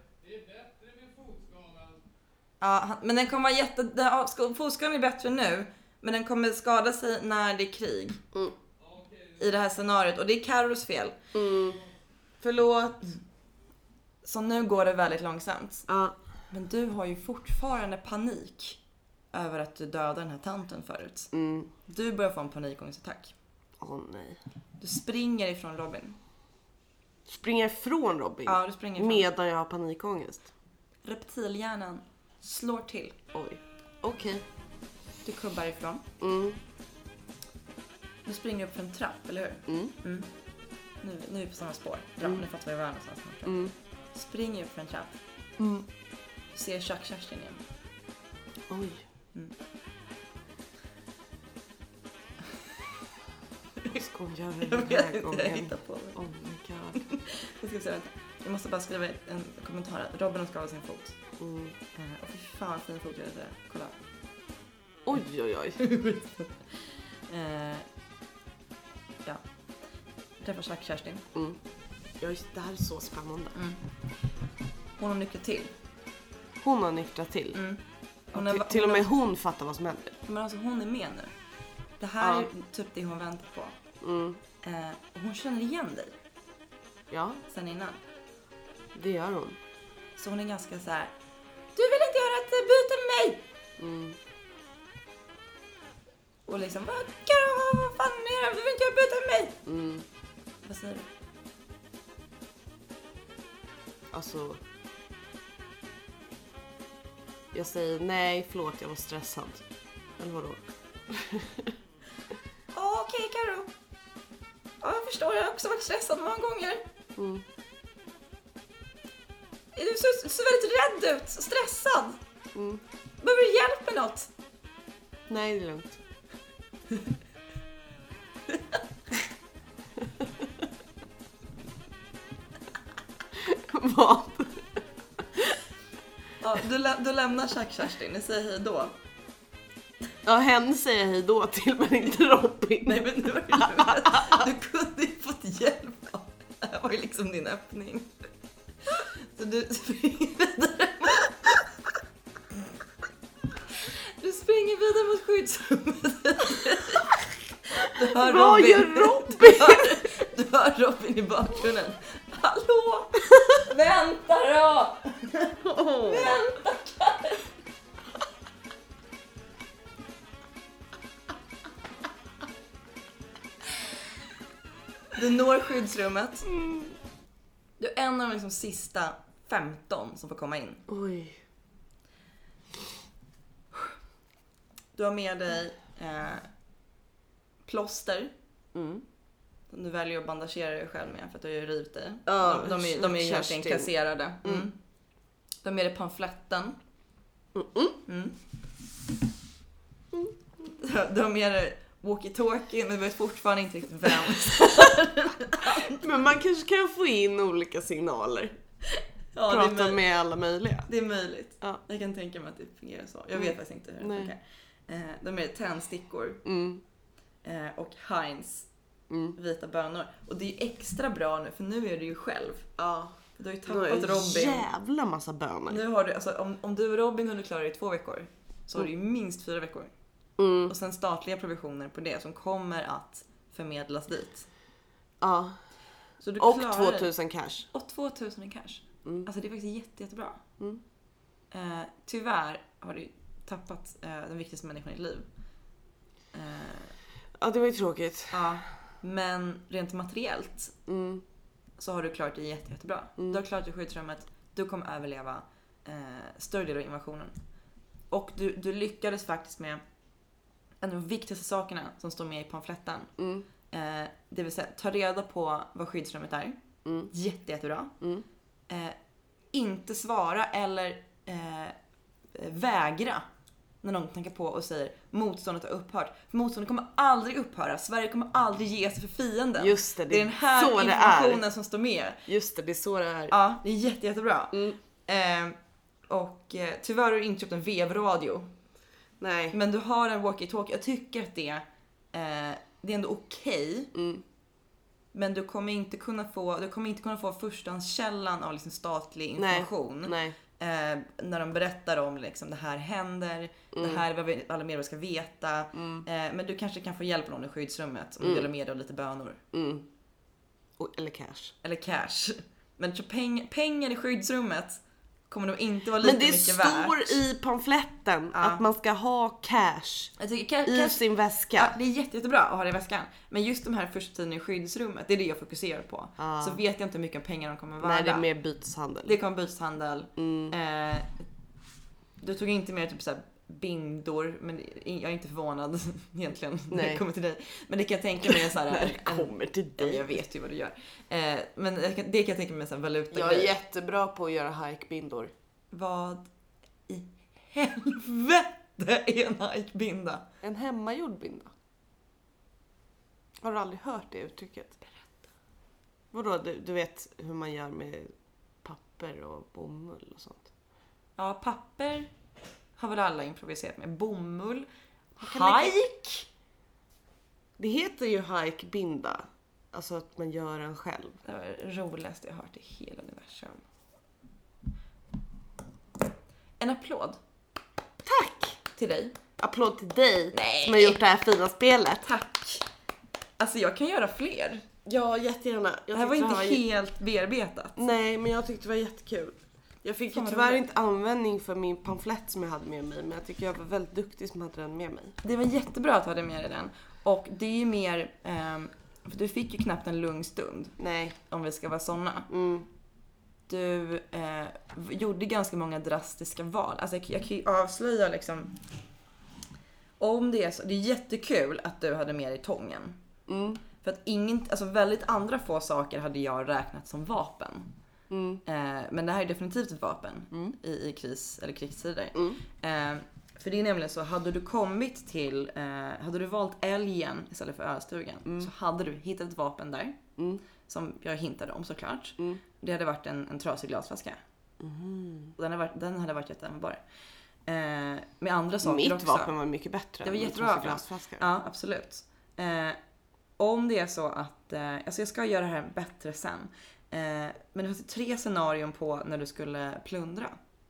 S1: Ja, han- men den kommer vara jätte... den- ja, sko- Fotskadan är bättre nu, men den kommer skada sig när det är krig.
S2: Mm.
S1: I det här scenariot och det är Carros fel.
S2: Mm. Förlåt.
S1: Så nu går det väldigt långsamt.
S2: Ja.
S1: Men du har ju fortfarande panik över att du dödade den här tanten förut.
S2: Mm.
S1: Du börjar få en panikångestattack.
S2: Åh nej.
S1: Du springer ifrån
S2: Mm.
S1: Robin.
S2: Springa ifrån Robin?
S1: Ja, du springer ifrån.
S2: Medan jag har panikångest?
S1: Reptilhjärnan slår till.
S2: Oj. Okej.
S1: Du kubbar ifrån.
S2: Mm.
S1: Du springer upp för en trapp, eller hur?
S2: Mm.
S1: Nu, nu är vi på samma spår. Bra, nu fattar vi var jag är någonstans.
S2: Mm.
S1: Springer upp för en trapp. Du ser Chuck-Kerstin igen.
S2: Oj.
S1: Mm.
S2: Vad ska hon göra den här gången?
S1: på det.
S2: Oh my god.
S1: Jag, ska se, vänta. jag måste bara skriva en kommentar här. Robin har skadat sin fot.
S2: Mm.
S1: Eh, Och fy fan vad fin fot jag hade. Kolla.
S2: Oj oj oj.
S1: Eh, ja. Träffar Chuck-Kerstin.
S2: Mm. Jag, det här är så spännande.
S1: Mm. Hon har nyktrat till.
S2: Hon har nyktrat till.
S1: Mm. Hon
S2: Hon
S1: har,
S2: till och
S1: hon har-
S2: med hon fattar vad som händer.
S1: Men alltså hon är med nu. Det här
S2: Ja.
S1: är typ det hon väntar på.
S2: Mm.
S1: Eh, och hon känner igen dig
S2: Ja,
S1: sen innan.
S2: det gör hon.
S1: Så hon är ganska så här. Du vill inte göra ett eh, byte med mig!
S2: Mm.
S1: Och liksom vad Karo, vad fan är det? Du vill inte göra ett byte med mig!
S2: Mm.
S1: Vad säger du?
S2: Alltså. Jag säger nej, förlåt, jag var stressad. Eller vadå?
S1: "Ja, Okej Karo. Ja, jag förstår, jag har också varit stressad många gånger.
S2: Mm.
S1: Du ser, ser väldigt rädd ut, stressad.
S2: Mm.
S1: Behöver du hjälp med något?
S2: Nej, det är lugnt. Vad?
S1: Ja, du, lä- du lämnar Chuck-Kerstin, ni säger hej då.
S2: Ja, henne säger jag hej då till, men inte Robin.
S1: Nej men nu var det ju- Du kunde ju fått hjälp av... Det här var ju liksom din öppning. Så du springer vidare. Du springer vidare mot skyddsrummet. Du hör
S2: Vad
S1: Robin.
S2: gör
S1: Du hör, du hör Robin i bakgrunden. Hallå! Vänta då!
S2: Åh.
S1: Du når skyddsrummet. Du är en av de liksom sista 15 som får komma in.
S2: Oj.
S1: Du har med dig eh, plåster.
S2: Mm.
S1: Du väljer att bandagera dig själv med för att du har ju rivit dig.
S2: Ja,
S1: de, de, är, de är ju
S2: Kerstin.
S1: egentligen kasserade. Mm. Du har med dig pamfletten. Mm. Du har med dig walkie-talkie men du vet fortfarande inte riktigt vem.
S2: Men man kanske kan få in olika signaler.
S1: Ja, det är
S2: Prata
S1: möjligt.
S2: med alla möjliga.
S1: Det är möjligt.
S2: Ja.
S1: Jag kan tänka mig att det fungerar så. Jag vet
S2: Mm.
S1: faktiskt inte hur det
S2: Nej.
S1: funkar. Eh, De är tändstickor
S2: Mm.
S1: eh, och Heinz
S2: Mm.
S1: vita bönor. Och det är ju extra bra nu för nu är du ju själv.
S2: Ja.
S1: Du har ju
S2: Det var en
S1: tappat Robin.
S2: jävla massa bönor.
S1: Nu har du, alltså, om, om du och Robin kunde klara det i två veckor så har du ju minst fyra veckor.
S2: Mm.
S1: Och sen statliga provisioner på det som kommer att förmedlas dit.
S2: Ja.
S1: Så du
S2: Och
S1: klarar-
S2: 2000 cash.
S1: Och 2000 i cash.
S2: Mm.
S1: Alltså det är faktiskt jätte, jättebra.
S2: Mm.
S1: Eh, tyvärr har du ju tappat eh, den viktigaste människan i ditt liv. Eh,
S2: Ja, det var ju tråkigt.
S1: ja. Men rent materiellt
S2: Mm.
S1: så har du klarat det jätte, jättebra.
S2: Mm.
S1: Du har klarat dig i skyddsrummet, du kommer överleva eh, större del av invasionen. Och du, du lyckades faktiskt med en av de viktigaste sakerna som står med i pamfletten.
S2: Mm.
S1: Eh, det vill säga, ta reda på vad skyddsrummet är.
S2: Mm.
S1: Jätte, jättebra.
S2: Mm.
S1: Eh, inte svara eller eh, vägra när någon knackar på och säger motståndet har upphört. För motståndet kommer aldrig upphöra. Sverige kommer aldrig ge sig för fienden.
S2: Just det,
S1: det är den här
S2: så det
S1: informationen
S2: är.
S1: som står med.
S2: Just det, det är så det är.
S1: Ja, det är jätte, jättebra.
S2: Mm.
S1: Eh, och eh, tyvärr har du inte köpt en vevradio.
S2: Nej.
S1: Men du har en walkie-talkie. Jag tycker att det eh, det är ändå okej. Men du kommer inte kunna få, du kommer inte kunna få förstahandskällan av liksom statlig
S2: Nej.
S1: information.
S2: Mm, Nej.
S1: Eh, när de berättar om liksom, det här händer,
S2: Mm.
S1: det här är vad vi- alla medborgare ska veta. Eh, men du kanske kan få hjälp av någon i skyddsrummet om du delar med dig av lite bönor.
S2: Mm. Och, eller cash.
S1: Eller cash. Men så peng, pengar i skyddsrummet kommer nog inte vara lika
S2: Men det
S1: mycket
S2: står
S1: värt.
S2: i pamfletten att man ska ha cash
S1: Jag tycker ca-
S2: i
S1: cash
S2: sin väska.
S1: Ja, det är jätte, jättebra att ha det i väskan. Men just de här första tiden i skyddsrummet, det är det jag fokuserar på. Så vet jag inte hur mycket pengar de kommer vara
S2: Nej, det är mer byteshandel. Mm.
S1: Det kommer byteshandel. Eh, du tog inte med typ så här bindor, men jag är inte förvånad egentligen när
S2: Nej.
S1: det kommer till dig. Men det kan jag tänka mig är så
S2: När
S1: här.
S2: det kommer till
S1: Ja, jag
S2: dig.
S1: vet ju vad du gör. Eh, men jag kan- det kan jag tänka mig är så här valuta.
S2: Jag är jättebra på att göra hajkbindor.
S1: Vad i helvete är en hajkbinda?
S2: En hemmagjord binda. Har du aldrig hört det uttrycket? Berätta. Vadå, du, du vet hur man gör med papper och bomull och sånt?
S1: Ja, papper har väl alla improviserat med. Bomull.
S2: kan lägga-
S1: Hajk!
S2: Det heter ju hajkbinda. Alltså att man gör den själv.
S1: Det var det roligaste jag hört i hela universum. En applåd
S2: Tack!
S1: till dig.
S2: Applåd till dig
S1: Nej.
S2: som har gjort det här fina spelet.
S1: Tack! Alltså jag kan göra fler.
S2: Ja, jättegärna.
S1: Det
S2: Jag
S1: här var
S2: tyckte
S1: inte
S2: var-
S1: helt bearbetat.
S2: Nej, men jag tyckte det var jättekul. Jag fick
S1: Fan,
S2: ju
S1: vad
S2: tyvärr
S1: roligt.
S2: inte användning för min pamflett som jag hade med mig, men jag tycker jag var väldigt duktig som hade den med mig.
S1: Det var jättebra att ha dig med dig den. Och det är ju mer, ehm, för du fick ju knappt en lugn stund
S2: Nej.
S1: om vi ska vara såna.
S2: Mm.
S1: Du eh, gjorde ganska många drastiska val. Alltså jag, jag kan ju avslöja liksom. Om det är så, det är jättekul att du hade med dig tången.
S2: Mm.
S1: För att ingen, alltså väldigt andra få saker hade jag räknat som vapen.
S2: Mm.
S1: Eh, men det här är definitivt ett vapen i, i kris eller krigstider.
S2: Mm.
S1: Eh, för det är nämligen så, hade du kommit till, eh, hade du valt älgen istället för ölstugan så hade du hittat ett vapen där.
S2: Mm.
S1: Som jag hintade om såklart.
S2: Mm.
S1: Det hade varit en, en trasig glasflaska. Och Den, hade varit, den hade varit jätteanvändbar. Eh, med andra saker
S2: Mitt
S1: också.
S2: vapen var mycket bättre.
S1: Det var
S2: än
S1: jättebra
S2: trasiga
S1: vapen.
S2: glasflaskor.
S1: Ja, absolut. Eh, om det är så att, eh, alltså jag ska göra det här bättre sen. Eh, men det fanns ju tre scenarion på när du skulle plundra.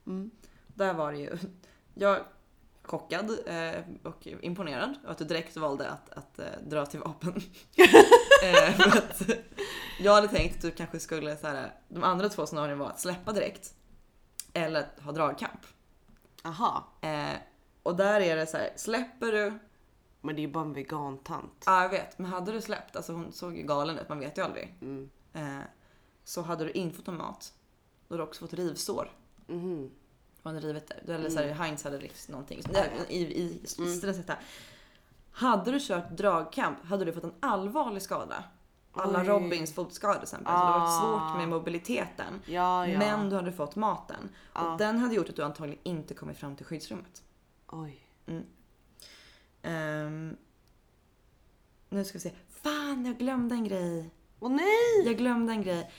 S2: Mm.
S1: Där var det ju, jag chockad eh, och imponerad av att du direkt valde att, att eh, dra till vapen. eh, för att jag hade tänkt att du kanske skulle, så här, de andra två scenarion var att släppa direkt eller att ha dragkamp.
S2: Aha.
S1: Eh, och där är det så här, släpper du
S2: Men det är ju bara en vegantant.
S1: Ja, jag vet. Men hade du släppt, alltså hon såg ju galen ut, man vet ju aldrig.
S2: Mm.
S1: Eh, så hade du inte fått någon mat, då hade du också fått rivsår. Mm.
S2: Mhm.
S1: Man hade rivit där. Eller såhär, Heinz hade rivit någonting. Så, nej, i, i, i stresset där. Hade du kört dragkamp hade du fått en allvarlig skada. Alla
S2: Oj.
S1: Robins fotskada till exempel. Så det hade varit
S2: Ah.
S1: svårt med mobiliteten.
S2: Ja, ja.
S1: Men du hade fått maten.
S2: Ah.
S1: Och den hade gjort att du antagligen inte kommit fram till skyddsrummet.
S2: Oj.
S1: Ehm, nu ska vi se. Fan, jag glömde en grej.
S2: Åh nej!
S1: Jag glömde en grej.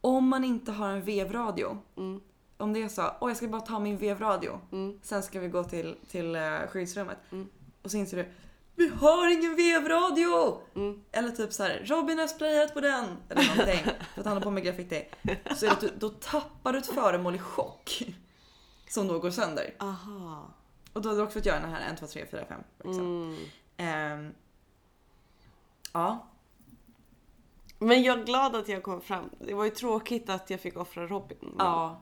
S1: Om man inte har en vevradio.
S2: Mm.
S1: Om det är så, åh jag ska bara ta min vevradio.
S2: Mm.
S1: Sen ska vi gå till, till eh, skyddsrummet. Och så inser du, vi har ingen vevradio!
S2: Mm.
S1: Eller typ så här, Robin har sprayat på den. Eller någonting. för att han har på med graffiti. Så är det, att du- då tappar du ett föremål i chock. Som då går sönder.
S2: Aha.
S1: Och då hade du också fått göra den här 1, 2, 3, 4, 5. Liksom.
S2: Mm.
S1: Ehm, ja,
S2: Men jag är glad att jag kom fram. Det var ju tråkigt att jag fick offra Robin. men-
S1: Ja,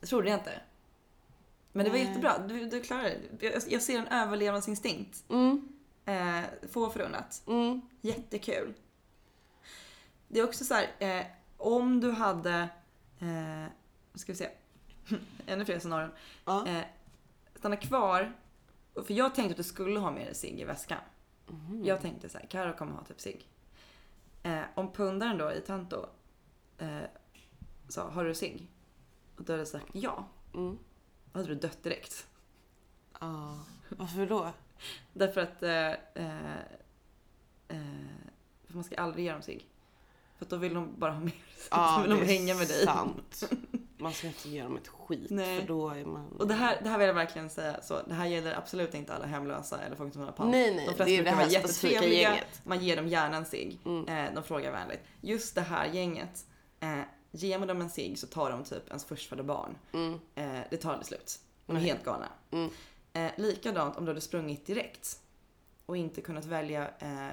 S1: det trodde jag inte. Men det var
S2: Nej.
S1: jättebra, du, du klarade det. Jag, jag ser en överlevnadsinstinkt.
S2: Mm.
S1: Eh, få förunnat.
S2: Mm.
S1: Jättekul. Det är också så här, eh, om du hade... Eh, vad ska vi se? Ännu fler scenarion.
S2: Ja.
S1: Eh, stanna kvar. För jag tänkte att du skulle ha med dig cigg i väskan.
S2: Mm.
S1: Jag tänkte så här, Karo kommer ha typ cigg. Eh, om pundaren då i Tanto eh, sa, har du cigg? Och då hade jag sagt ja.
S2: Mm.
S1: Då hade du dött direkt.
S2: Ja. Varför då?
S1: Därför att eh, eh, eh, för man ska aldrig ge dem cigg. För att då vill de bara ha mer.
S2: Ja,
S1: då vill de
S2: det är
S1: hänga med dig.
S2: Sant. Man ska inte ge dem ett skit
S1: Nej.
S2: för då är man...
S1: Och det här, det här vill jag verkligen säga, så det här gäller absolut inte alla hemlösa eller folk som har pant.
S2: Nej, nej,
S1: de flesta
S2: det är
S1: brukar
S2: det här
S1: vara
S2: specifika
S1: jättetrevliga,
S2: gänget. Mm,
S1: man ger dem gärna en cigg, eh, de frågar vänligt. Just det här gänget, eh, ger man dem en cigg så tar de typ ens förstfödda barn.
S2: mm.
S1: Eh, det tar aldrig slut. De är helt galna. Eh, likadant om du hade sprungit direkt och inte kunnat välja, eh,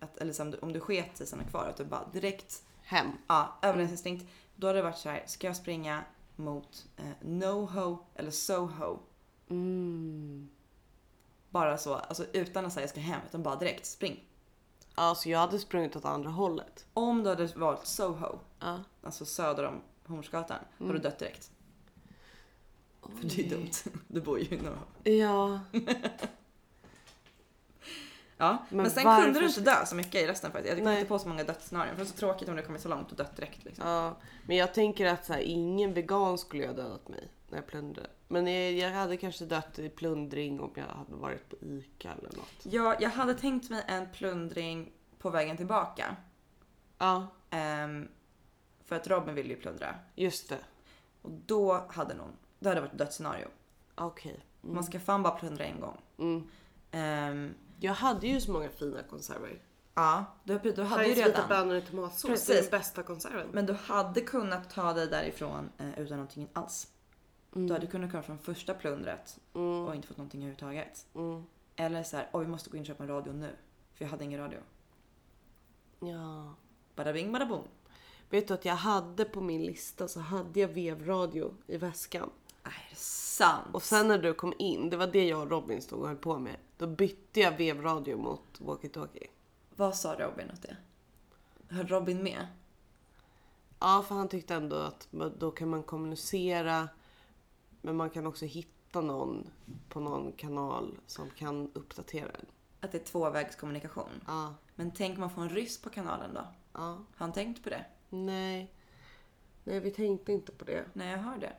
S1: att, eller så om, du, om du sket i sina kvar, att du bara direkt
S2: Hem.
S1: Ja, överlevnadsinstinkt. Då hade det varit så här, ska jag springa mot eh, NoHo eller SoHo?
S2: Mm.
S1: Bara så, alltså utan att säga jag ska hem, utan bara direkt spring.
S2: Alltså jag hade sprungit åt andra hållet.
S1: Om du hade valt SoHo,
S2: Ja.
S1: alltså söder om Hornsgatan, hade du dött direkt. För det är dumt. Du bor ju i NoHo.
S2: Ja.
S1: Ja, men,
S2: Men
S1: sen
S2: varför
S1: kunde du inte
S2: ska-
S1: dö så mycket i resten faktiskt. Jag kom
S2: Nej.
S1: inte på så många dödsscenarion. För det är så tråkigt om det kommit så långt och dött direkt liksom.
S2: ja. Men jag tänker att så här, ingen vegan skulle jag dödat mig när jag plundrade. Men jag, jag hade kanske dött i plundring om jag hade varit på ICA eller något.
S1: Ja, jag hade tänkt mig en plundring på vägen tillbaka.
S2: Ja,
S1: Ehm, för att Robin ville ju plundra.
S2: just det.
S1: Och då hade någon, då hade det varit ett dödsscenario.
S2: Okej.
S1: Man ska fan bara plundra en gång.
S2: Mm.
S1: Ehm,
S2: Jag hade ju så många fina konserver.
S1: ja, du, du hade ju
S2: Heinz vita
S1: redan.
S2: bönor i tomatsås.
S1: Precis.
S2: Det är den bästa konserven.
S1: Men du hade kunnat ta dig därifrån eh, utan någonting alls.
S2: Mm.
S1: Du hade kunnat komma från första plundret och inte fått någonting överhuvudtaget.
S2: Mm.
S1: Eller så här, oj vi måste gå in och köpa en radio nu. För jag hade ingen radio.
S2: Ja.
S1: Bada bing bada boom.
S2: Vet du att jag hade på min lista så hade jag vevradio i väskan.
S1: Nej, det är sant.
S2: Och sen när du kom in, det var det jag och Robin stod och höll på med. Då bytte jag vevradio mot walkie-talkie.
S1: Vad sa Robin åt det? Höll Robin med?
S2: Ja, för han tyckte ändå att men då kan man kommunicera. Men man kan också hitta någon på någon kanal som kan uppdatera en.
S1: Att det är tvåvägskommunikation.
S2: Ja,
S1: Men tänk om man får en ryss på kanalen då?
S2: ja,
S1: Har han tänkt på det?
S2: nej. Nej, vi tänkte inte på det.
S1: Nej, jag hör det.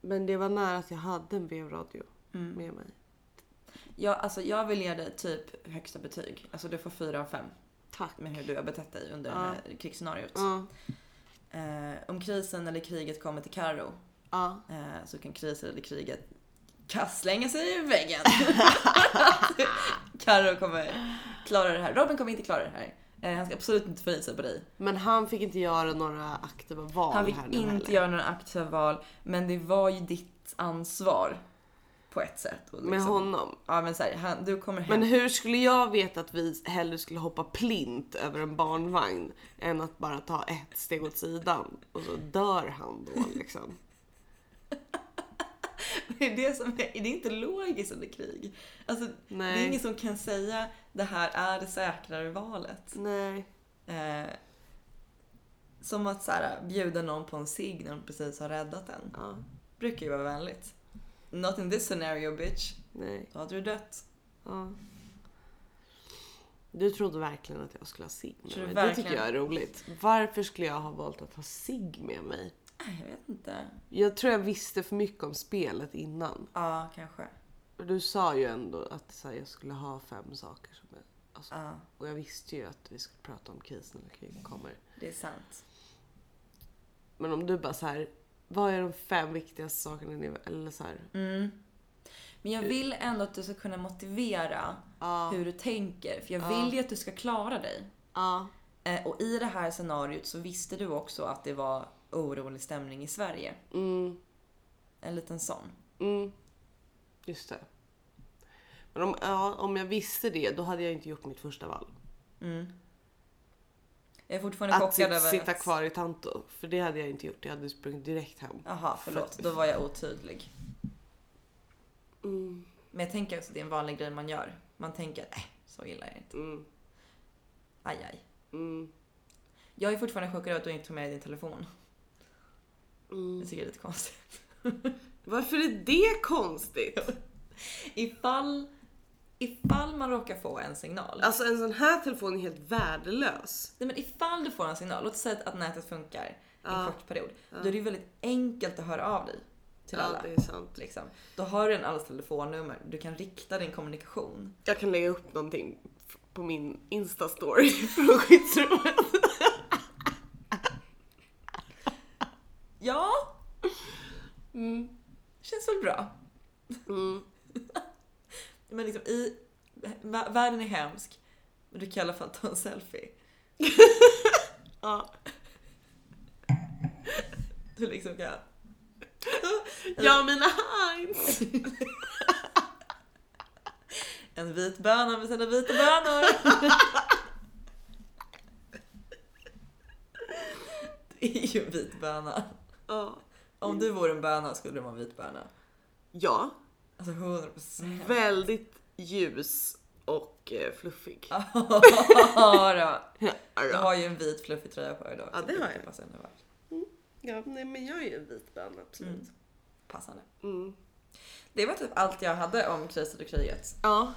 S2: Men det var nära att jag hade en vevradio
S1: Mm.
S2: med mig.
S1: Ja, alltså jag vill ge dig typ högsta betyg. Alltså du får fyra av fem
S2: Tack.
S1: med hur du har betett dig under det här krigsscenariot.
S2: Ja,
S1: Eh, om krisen eller kriget kommer till Karo
S2: ja.
S1: eh, så kan krisen eller kriget kastslänga sig i väggen. Karo kommer klara det här. Robin kommer inte klara det här. Eh, han ska absolut inte förlita sig på dig.
S2: Men han fick inte göra några aktiva val
S1: Han fick
S2: här nu
S1: inte
S2: heller.
S1: göra några aktiva val, men det var ju ditt ansvar på ett sätt. Och
S2: Med
S1: liksom-
S2: honom.
S1: Ja, men så här, han, du kommer hem.
S2: Men hur skulle jag veta att vi hellre skulle hoppa plint över en barnvagn än att bara ta ett steg åt sidan och så dör han då liksom.
S1: Det är det som är, det är inte logiskt under krig. Alltså, Det är
S2: Nej.
S1: ingen som kan säga det här är det säkrare valet.
S2: Nej.
S1: Eh, som att så här, bjuda någon på en cigg när de precis har räddat en.
S2: Ja.
S1: Brukar ju vara vänligt. Not in this scenario bitch.
S2: Nej.
S1: Då hade du dött.
S2: Ja. Du trodde verkligen att jag skulle ha cigg med
S1: Tror du
S2: mig. Det
S1: verkligen?
S2: tycker jag är roligt. Varför skulle jag ha valt att ha cigg med mig?
S1: Nej, jag vet inte.
S2: Jag tror jag visste för mycket om spelet innan.
S1: Ja, kanske.
S2: Och Du sa ju ändå att så här, jag skulle ha fem saker som jag... Alltså,
S1: Ja,
S2: Och jag visste ju att vi skulle prata om krisen när kriget kommer.
S1: det är sant.
S2: Men om du bara så här, vad är de fem viktigaste sakerna ni... Eller så här,
S1: Mm. Men jag vill ändå att du ska kunna motivera
S2: Eh. ja,
S1: hur du tänker. För jag
S2: Ja.
S1: vill ju att du ska klara dig.
S2: ja,
S1: Eh, Och i det här scenariot så visste du också att det var orolig stämning i Sverige.
S2: mm,
S1: En liten sån.
S2: mm. Just det. Men om, ja, om jag visste det, då hade jag inte gjort mitt första val.
S1: Mm. Jag är fortfarande
S2: Att
S1: chockad
S2: sit,
S1: över
S2: sitta
S1: att...
S2: kvar i Tanto. För det hade jag inte gjort. Jag hade sprungit direkt hem.
S1: Jaha, förlåt. Då var jag otydlig.
S2: Mm,
S1: Men jag tänker också att det är en vanlig grej man gör. Man tänker att äh, så illa är det inte.
S2: mm,
S1: Aj, aj.
S2: mm,
S1: Jag är fortfarande chockad över att du inte tog med din telefon.
S2: mm.
S1: Jag tycker det är lite konstigt.
S2: Varför är det konstigt?
S1: Ifall, ifall man råkar få en signal.
S2: Alltså en sån här telefon är helt värdelös.
S1: Nej, men ifall du får en signal, låt säga att nätet funkar i en
S2: Ja.
S1: kort period. Då är det ju väldigt enkelt att höra av dig till alla.
S2: Ja, det är sant.
S1: Liksom. Då har du en allas telefonnummer, du kan rikta din kommunikation.
S2: Jag kan lägga upp någonting f- på min Insta-story från skyddsrummet.
S1: Ja, Mm. väl bra.
S2: Mm.
S1: Men liksom i... vä- Världen är hemsk. Men du kan i alla fall ta en selfie.
S2: Ja.
S1: Du liksom kan...
S2: Jag och mina Heinz!
S1: En vit böna med sina vita bönor. det är ju en vit böna.
S2: Ja.
S1: Om du vore en böna skulle du vara en vit böna.
S2: ja,
S1: Alltså 100 procent.
S2: väldigt ljus och eh, fluffig.
S1: Du
S2: Ja,
S1: har ju en vit fluffig tröja på dig idag.
S2: Ja,
S1: så
S2: det har
S1: kan
S2: jag.
S1: Passa henne väl.
S2: ja nej, men jag är ju en vit bön, absolut.
S1: Passande.
S2: Mm.
S1: Det var typ allt jag hade om kröset och kriget.
S2: Ja,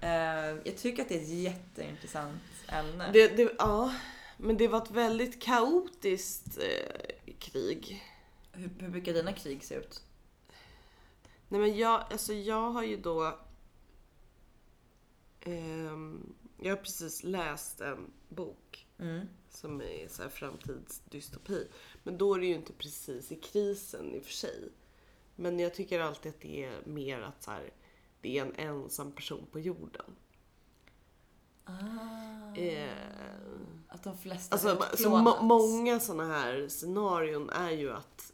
S1: Eh, jag tycker att det är ett jätteintressant ämne.
S2: det, det, ja, men det var ett väldigt kaotiskt eh, krig.
S1: Hur, hur brukar dina krig se ut?
S2: Nej men jag, alltså jag har ju då... ehm, jag har precis läst en bok
S1: Mm.
S2: som är så här framtidsdystopi. Men då är det ju inte precis i krisen i och för sig. Men jag tycker alltid att det är mer att så här, det är en ensam person på jorden. Eh,
S1: Ah. att de flesta
S2: Alltså,
S1: har
S2: så må-
S1: utplånats.
S2: många sådana här scenarion är ju att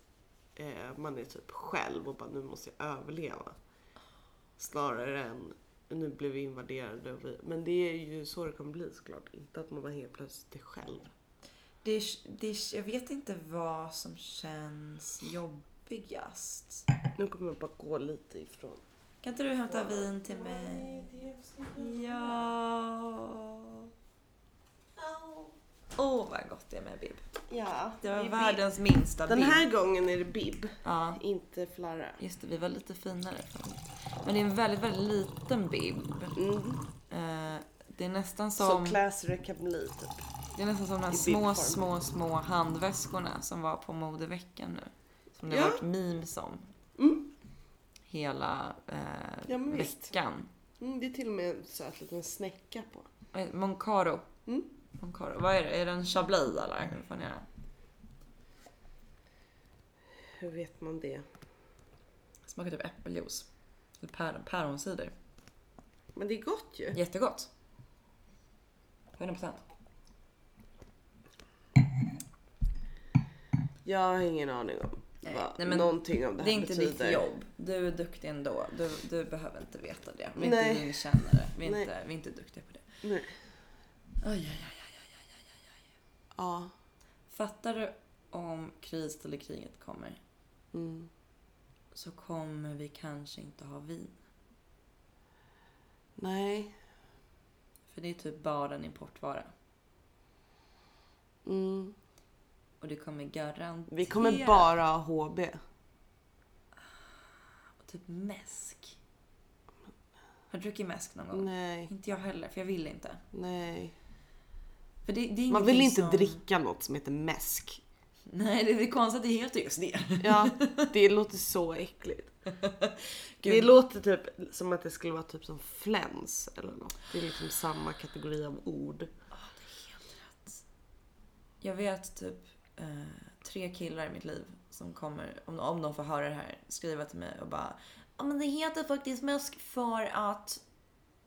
S2: eh, man är typ själv och bara nu måste jag överleva. Snarare än nu blev vi invaderade. Och vi, men det är ju så det kommer bli såklart. Inte att man bara helt plötsligt är själv.
S1: det är, det är, jag vet inte vad som känns jobbigast.
S2: Nu kommer jag bara gå lite ifrån.
S1: Kan inte du hämta vin till mig? Ja. Åh vad gott det är med bib.
S2: Ja,
S1: Det var världens minsta
S2: Den
S1: bib.
S2: här gången är det bib,
S1: Ja,
S2: inte flarra.
S1: just det, vi var lite finare förut. Men det är en väldigt, väldigt liten bib.
S2: Mm.
S1: Eh, det är nästan
S2: Så
S1: som...
S2: classy det kan bli typ.
S1: Det är nästan som de här
S2: I
S1: små,
S2: bildform.
S1: små, små handväskorna som var på modeveckan nu. Som det
S2: Ja.
S1: har varit memes om.
S2: Mm.
S1: Hela eh,
S2: Ja, men visst.
S1: veckan.
S2: Mm, det är till och med en söt liten snäcka på.
S1: Vad heter- Eh, Moncaro.
S2: Mm.
S1: Moncaro. Vad är det? Är det en chablis eller? Hur fan är det?
S2: Hur vet man det?
S1: Smakar typ äppeljuice. Eller päron, päronsider.
S2: Men det är gott ju.
S1: Jättegott. 100%.
S2: Jag har ingen aning om
S1: Nej,
S2: vad
S1: nej, men
S2: någonting av det här
S1: Det är inte
S2: betyder.
S1: ditt jobb. Du är duktig ändå. Du, du behöver inte veta det. Vi är
S2: Nej.
S1: inte vinkännare. Vi är
S2: Nej.
S1: inte, vi är inte duktiga på det.
S2: Nej.
S1: Aj, aj, aj.
S2: Ja.
S1: Fattar du om kriget eller kriget kommer
S2: Mm.
S1: så kommer vi kanske inte ha vin.
S2: Nej.
S1: För det är typ bara en importvara.
S2: Mm.
S1: Och det kommer garanterat...
S2: Vi kommer bara ha HB.
S1: Och typ mäsk. Har du druckit mäsk någon gång?
S2: Nej,
S1: Inte jag heller, för jag vill inte.
S2: nej.
S1: För det, det är
S2: Man
S1: ingenting
S2: vill inte
S1: som...
S2: dricka något som heter mäsk.
S1: Nej, det är konstigt att det heter just det.
S2: Ja, det låter så äckligt. Det
S1: Gud.
S2: låter typ som att det skulle vara typ som fläns eller något. Det är liksom samma kategori av ord.
S1: Jag vet typ eh, tre killar i mitt liv som kommer, om, om de får höra det här, skriva till mig och bara Ja men det heter faktiskt mäsk för att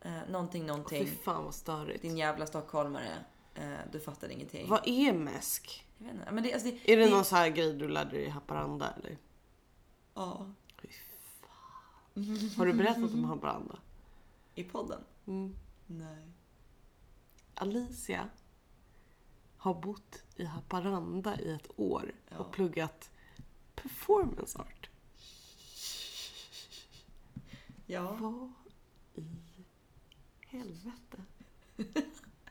S1: eh, någonting,
S2: Åh, Fy
S1: någonting.
S2: fan vad störigt.
S1: Din jävla stockholmare. Eh, du fattar ingenting.
S2: Vad är mäsk?
S1: Jag vet inte. Men det, alltså det,
S2: Är det någon så här grej du lärde dig i Haparanda eller?
S1: Ja.
S2: Fy fan. Har du berättat om Haparanda?
S1: I podden?
S2: Mm.
S1: Nej.
S2: Alicia har bott i Haparanda i ett år
S1: Ja.
S2: och pluggat performance art.
S1: Ja.
S2: Vad i helvete?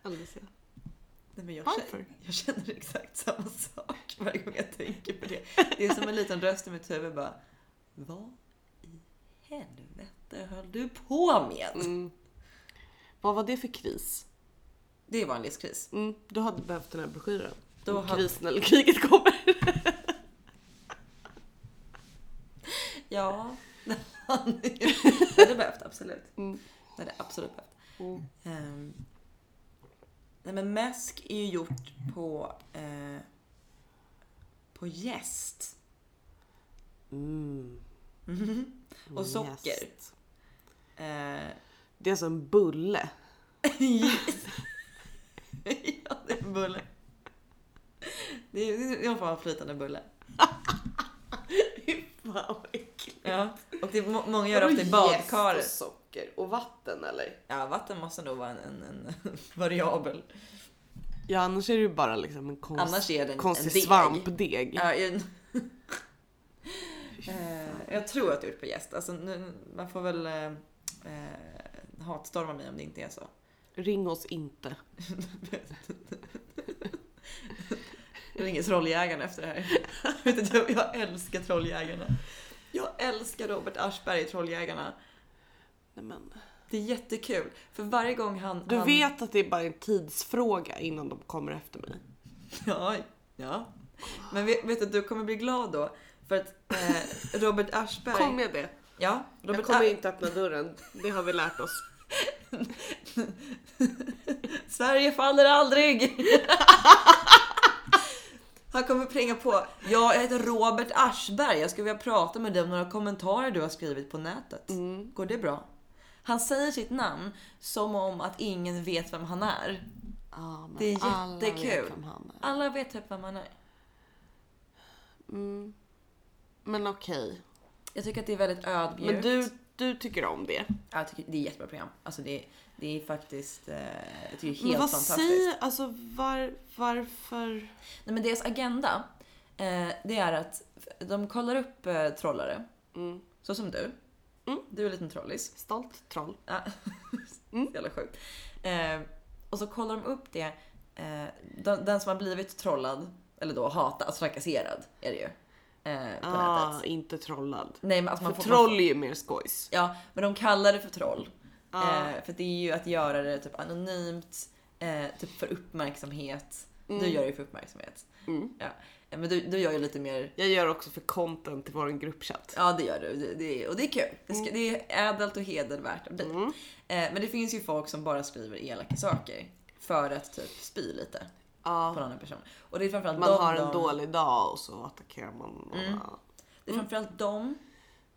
S2: Alicia,
S1: Nej, men jag, känner,
S2: varför?
S1: jag känner exakt samma sak varje gång jag tänker på det. Det är som en liten röst i mitt huvud bara. Vad i helvete höll du på med?
S2: Mm. Vad var det för kris?
S1: Det var en livskris.
S2: Mm, du hade behövt den här broschyren.
S1: Då
S2: Om
S1: hade-
S2: Krisen eller kriget kommer.
S1: Ja. det hade behövt, absolut.
S2: Mm.
S1: Det hade absolut behövt.
S2: Mm.
S1: Ehm, nej men mäsk är ju gjort på, eh, på jäst.
S2: Mm.
S1: Och socker.
S2: Yes.
S1: Eh,
S2: Det är som en bulle.
S1: ja, det är en bulle. Det är det är någon form av flytande bulle.
S2: Fy fan vad äckligt.
S1: Ja. Och det, är må- många gör det ofta i
S2: Vadå jäst och
S1: badkaret.
S2: socker och vatten eller?
S1: Ja, vatten måste nog vara en, en, en variabel.
S2: Ja annars är det ju bara liksom en konst,
S1: Annars är den en
S2: konstig
S1: deg.
S2: svampdeg.
S1: Ja, en... Eh, jag tror att jag har gjort på gäst. Alltså, nu, man får väl eh, eh, hatstorma mig om det inte är så.
S2: Ring oss inte.
S1: Jag ringer Trolljägarna efter det här. Vet du, jag, jag älskar Trolljägarna. Jag älskar Robert Aschberg i Trolljägarna.
S2: Nej, men.
S1: Det är jättekul. För varje gång han...
S2: Du
S1: han,
S2: vet att det är bara en tidsfråga innan de kommer efter mig.
S1: Ja, ja. Men vet, vet du, du kommer bli glad då. För att eh, Robert Aschberg...
S2: Kommer jag det?
S1: Ja, Robert
S2: Jag kommer
S1: Asch-
S2: inte öppna dörren. Det har vi lärt oss.
S1: Sverige faller aldrig! Han kommer pringa på. Ja, jag heter Robert Aschberg. Jag skulle vilja prata med dig om några kommentarer du har skrivit på nätet.
S2: Mm.
S1: Går det bra? Han säger sitt namn som om att ingen vet vem han är.
S2: Ja, men
S1: Det är
S2: alla vet
S1: jättekul.
S2: vem han är.
S1: Alla vet typ vem han är.
S2: Mm. Men okej.
S1: Jag tycker att det är väldigt ödmjukt.
S2: Men du, du tycker om det.
S1: Ja, jag tycker det är ett jättebra program. Alltså det, det är faktiskt... Eh, jag tycker det är helt
S2: Men vad
S1: fantastiskt.
S2: säger, alltså var, varför?
S1: Nej, men deras agenda, eh, det är att de kollar upp eh, trollare.
S2: Mm.
S1: Så som du.
S2: Mm.
S1: Du är en liten trollis.
S2: Stolt troll.
S1: Ja.
S2: Mm.
S1: Jävla sjukt. Eh, och så kollar de upp det. Eh, den, den som har blivit trollad, eller då hatad, trakasserad är det ju. Eh, på
S2: Ah,
S1: nätet.
S2: inte trollad.
S1: Nej, men alltså man
S2: För
S1: får, man,
S2: troll är ju mer skojs. Ah,
S1: Ja, men de kallar det för troll.
S2: Ja.
S1: Eh, för det är ju att göra det typ anonymt, eh, typ för uppmärksamhet. Du
S2: Mm.
S1: gör det ju för uppmärksamhet.
S2: Mm.
S1: Ja. Eh, Men du, du gör ju lite mer
S2: Jag gör också för content till vår gruppchatt.
S1: Ja, det gör du. Det, det, och det är kul. Det, ska, det är ädelt och hedervärt att bli.
S2: Mm.
S1: Eh, men det finns ju folk som bara skriver elaka saker för att typ spy lite Ah, på
S2: Ja.
S1: en annan person. Och det är framförallt
S2: Ah, Man
S1: de,
S2: har en
S1: de,
S2: dålig dag och så attackerar man.
S1: Mm. Det är framförallt de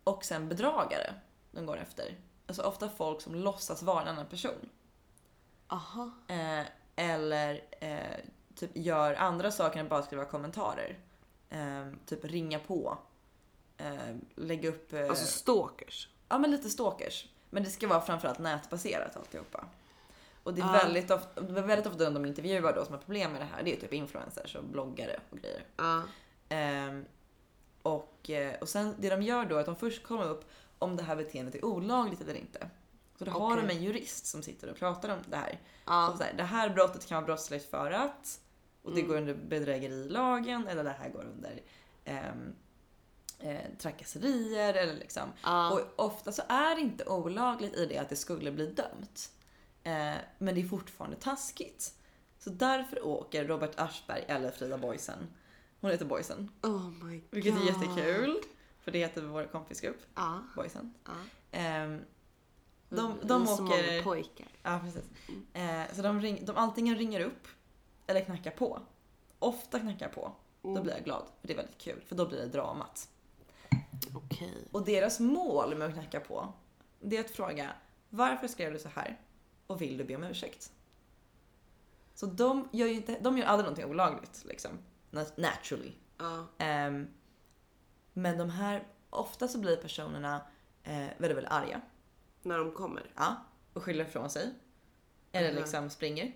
S1: och sen bedragare de går efter. Alltså ofta folk som låtsas vara en annan person.
S2: Aha.
S1: Eh, eller eh, typ gör andra saker än bara skriva kommentarer. Eh, typ ringa på. Eh, lägga upp... Eh,
S2: Alltså stalkers.
S1: ja men lite stalkers. Men det ska vara framförallt nätbaserat alltihopa. Och det är
S2: Ja.
S1: väldigt, ofta, det är väldigt ofta de de intervjuar då som har problem med det här, det är typ influencers och bloggare och grejer.
S2: Ja.
S1: Ehm, och, eh, och sen det de gör då är att de först kollar upp om det här beteendet är olagligt eller inte. Så då har de
S2: Okej. Ah.
S1: en jurist som sitter och pratar om det här.
S2: Ja.
S1: Och så här det här brottet kan vara brottsligt för att och det går under bedrägerilagen eller det här går under ehm, eh, trakasserier eller liksom.
S2: Ja.
S1: Och ofta så är det inte olagligt i det att det skulle bli dömt. Eh, men det är fortfarande taskigt. Så därför åker Robert Aschberg eller Frida Boisen. Hon heter Boisen,
S2: Oh my god.
S1: vilket är jättekul. För det heter vår kompisgrupp,
S2: Ja.
S1: Boisen.
S2: Ja.
S1: Ehm, de de
S2: ah. Vi Mm, som håller
S1: åker...
S2: pojkar.
S1: Ja, precis. Eh, så de, ring, de antingen ringer upp eller knackar på. Ofta knackar på.
S2: Mm.
S1: Då blir jag glad, för det är väldigt kul. För då blir det dramat.
S2: Okej.
S1: Och deras mål med att knacka på, det är att fråga varför skrev du så här? Och vill du be om ursäkt? Så de gör ju inte, de gör aldrig någonting olagligt liksom. Nat- Naturally.
S2: Ja.
S1: Ehm, men de här, ofta så blir personerna eh, väldigt, väldigt arga.
S2: När de kommer.
S1: Ja. Och skyller ifrån sig. Eller
S2: Mhm.
S1: liksom springer.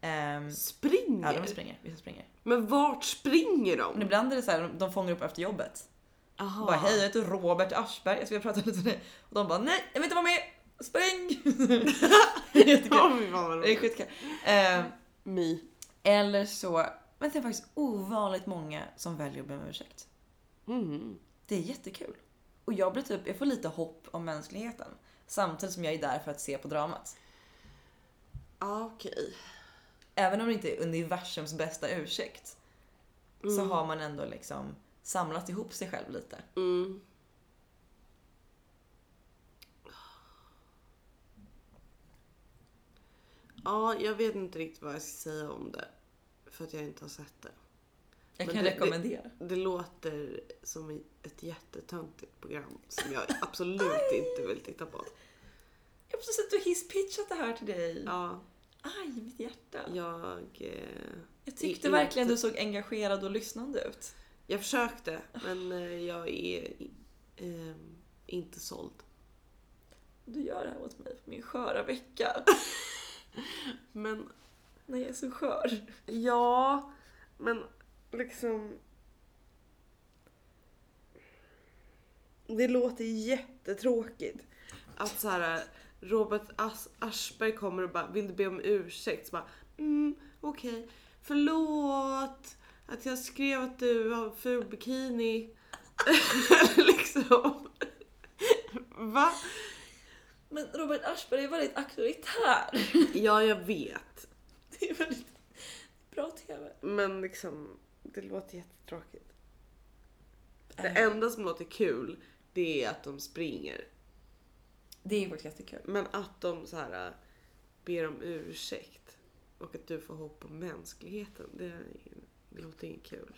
S1: Ehm,
S2: Springer?
S1: ja, de springer. Vissa springer.
S2: Men vart springer
S1: Men
S2: de?
S1: ibland är det så här, de- de fångar upp efter jobbet.
S2: Aha.
S1: Bara hej jag heter Robert Aschberg, jag skulle vilja prata lite med dig. Och de bara nej jag vill inte vara med, spring! Jättekul.
S2: Ja, fy fan vad
S1: Det är
S2: roligt.
S1: skitkul. Eh,
S2: Me.
S1: eller så, men det är faktiskt ovanligt många som väljer att be om ursäkt.
S2: Mm.
S1: Det är jättekul. Och jag blir typ, jag får lite hopp om mänskligheten. Samtidigt som jag är där för att se på dramat.
S2: Ja, Ah, Okej.
S1: Även om det inte är universums bästa ursäkt. Så har man ändå liksom samlat ihop sig själv lite.
S2: Mm. Ja, jag vet inte riktigt vad jag ska säga om det. För att jag inte har sett det.
S1: Jag
S2: Men
S1: kan
S2: det- det-
S1: rekommendera.
S2: Det låter som ett jättetöntigt program som jag absolut inte vill titta på.
S1: Jag har precis suttit och hisspitchat det här till dig.
S2: Ja,
S1: Aj, mitt hjärta.
S2: jag... eh,
S1: Jag
S2: i-
S1: tyckte
S2: i-
S1: verkligen du såg engagerad och lyssnande ut.
S2: Jag försökte, men eh, jag är eh, inte såld.
S1: Du gör det här åt mig på min sköra vecka.
S2: Men
S1: När jag är så skör.
S2: ja, men liksom... Det låter jättetråkigt. Att så här, Robert As- Aschberg kommer och bara vill du be om ursäkt? Så bara, mm, okej. Förlåt att jag skrev att du har ful bikini. liksom. Va?
S1: Men Robert Aschberg är väldigt auktoritär.
S2: Ja, jag vet.
S1: Det är väldigt bra TV.
S2: Men liksom, det låter jättetråkigt. Det enda som låter kul, det är att de springer.
S1: Det är faktiskt jättekul.
S2: Men att de så här äh, ber om ursäkt och att du får hopp om mänskligheten, det, är- det låter inte kul.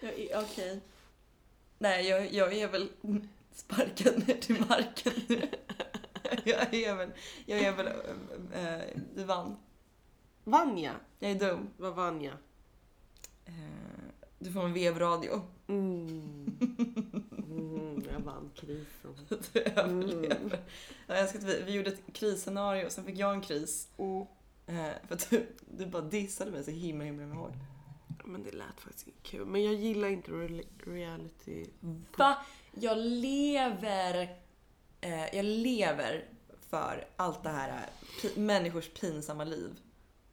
S1: Jag är, okej. Nej, jag, jag är väl sparkad ner till marken nu. Jag är väl, jag är väl, eh, du vann.
S2: Vanja!
S1: Jag är dum.
S2: Vad Vanja?
S1: Eh, du får en vevradio.
S2: Mm. Mm, jag vann krisen.
S1: att du överlever. Jag älskar att vi, vi gjorde ett krisscenario och sen fick jag en kris.
S2: Oh.
S1: Eh, för att du, du bara dissade mig så himla himla himla hårt.
S2: Men det lät faktiskt inte kul. Men jag gillar inte re- reality.
S1: Va? Jag lever, eh, jag lever för allt det här eh, pi, människors pinsamma liv.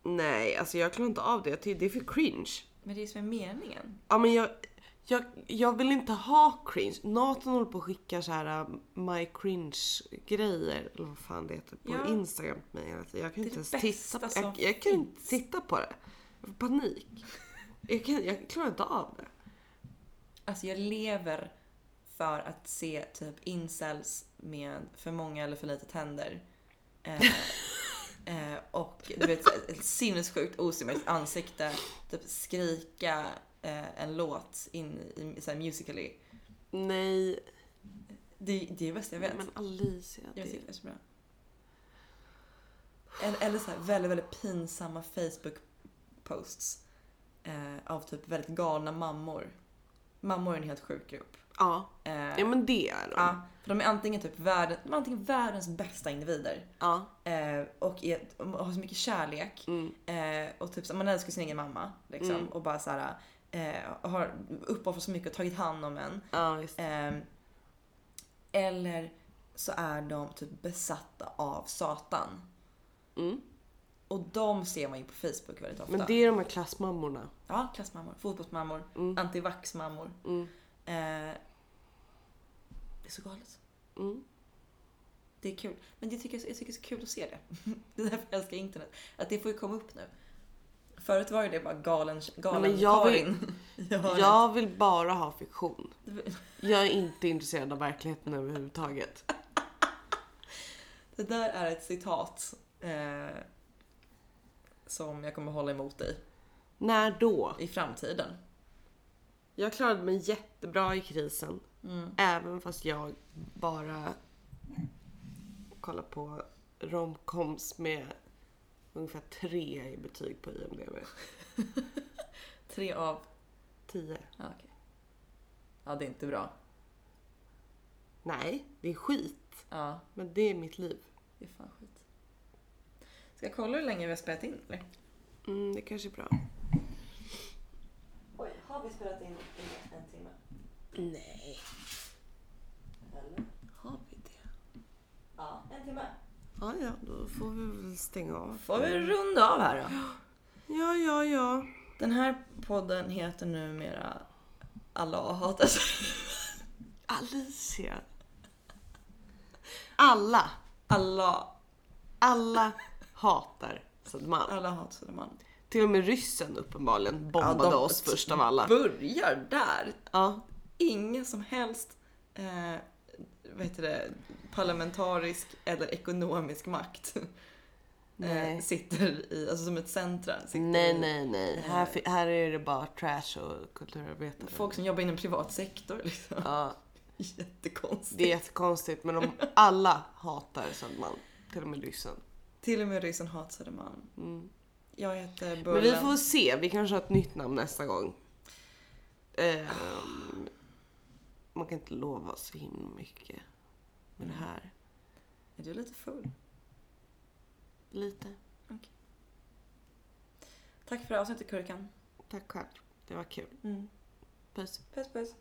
S2: Nej, alltså jag klarar inte av det. Jag tycker det är för cringe.
S1: Men det är ju som är meningen.
S2: Ja men jag, jag, jag vill inte ha cringe. Nathan håller på och skickar så här äh, my cringe grejer eller vad fan det heter på
S1: Ja.
S2: Instagram till mig hela tiden. Jag kan
S1: Det är
S2: inte
S1: det
S2: ens
S1: bästa
S2: titta på,
S1: som
S2: jag, jag kan inte
S1: finns.
S2: titta på det. Jag får panik. Jag, kan, jag klarar inte av det.
S1: Alltså jag lever för att se typ incels med för många eller för lite tänder. Eh, eh, och du vet, ett- ett sinnessjukt osymmetriskt ansikte. Typ skrika eh, en låt in i så här musically.
S2: Nej,
S1: Det, det är det bästa jag vet.
S2: men Alicia.
S1: jag
S2: Det,
S1: tycker det är så bra. Eller, eller så här väldigt, väldigt pinsamma Facebook-posts. Eh, av typ väldigt galna mammor. Mammor är en helt sjuk grupp.
S2: ja.
S1: Eh,
S2: ja men det är de.
S1: Ja, för de är antingen typ världen, de är antingen världens bästa individer
S2: Ja.
S1: eh, och, är, och har så mycket kärlek
S2: Mm.
S1: eh, och typ så, man älskar sin egen mamma liksom,
S2: Mm.
S1: och bara så här, eh, har uppoffrat så mycket och tagit hand om en.
S2: ja just det.
S1: Eh, eller så är de typ besatta av Satan.
S2: Mm.
S1: Och de ser man ju på Facebook väldigt ofta.
S2: Men det är de här klassmammorna.
S1: Ja, klassmammor, fotbollsmammor,
S2: Mm.
S1: antivaxmammor.
S2: Mm.
S1: Eh, det är så galet.
S2: Mm.
S1: Det är kul. Men det tycker jag, jag tycker det är så kul att se det. Det är därför jag älskar internet. Att det får ju komma upp nu. Förut var ju det bara galen, galen
S2: Nej, men jag var ju-
S1: Karin. Jag,
S2: Jag vill bara ha fiktion.
S1: Det-
S2: Jag är inte intresserad av verkligheten överhuvudtaget.
S1: Det där är ett citat eh, som jag kommer hålla emot dig
S2: När då?
S1: i framtiden.
S2: Jag klarade mig jättebra i krisen.
S1: Mm.
S2: Även fast jag bara kollar på romcoms med ungefär tre i betyg på IMDB.
S1: Tre av...
S2: Tio.
S1: Ja, okej. Ja, det är inte bra.
S2: Nej, det är skit.
S1: Ja,
S2: Men det är mitt liv.
S1: det är fan skit. Ska jag kolla hur länge vi har spelat in? Eller?
S2: Mm, det kanske är bra.
S1: Oj, har vi spelat in i en timme?
S2: Nej.
S1: Eller?
S2: Har vi det?
S1: Ja, en timme.
S2: Ja, ja, då får vi väl stänga av.
S1: Får vi runda av här då?
S2: Ja, ja, ja.
S1: Den här podden heter numera Alla hatar sig.
S2: Alicia. Alla,
S1: Alla,
S2: alla hatar Södermalm.
S1: alla hatar Södermalm.
S2: Till och med ryssen uppenbarligen bombade
S1: Ja, de-
S2: oss först av alla.
S1: Börjar där.
S2: Ja.
S1: Ingen som helst eh, vad heter det, parlamentarisk eller ekonomisk makt. eh, sitter i, alltså som ett centra. Sitter
S2: Nej,
S1: i,
S2: nej, nej. Här, fi- här är det bara trash och kulturarbetare.
S1: Folk som jobbar inom privat sektor liksom.
S2: Ja,
S1: Jättekonstigt.
S2: det är jättekonstigt men de, alla hatar Södermalm. Till och med ryssen.
S1: Till och med ryssen hatar Södermalm.
S2: Mm.
S1: Jag heter Bullen.
S2: Men vi får se, vi kanske har ett nytt namn nästa gång. Ehm, man kan inte lova så himla mycket med det här.
S1: Är du lite full?
S2: Lite.
S1: Tack för avsnittet Kurkan.
S2: Tack själv. Det var kul.
S1: Mm.
S2: Puss.
S1: Puss puss.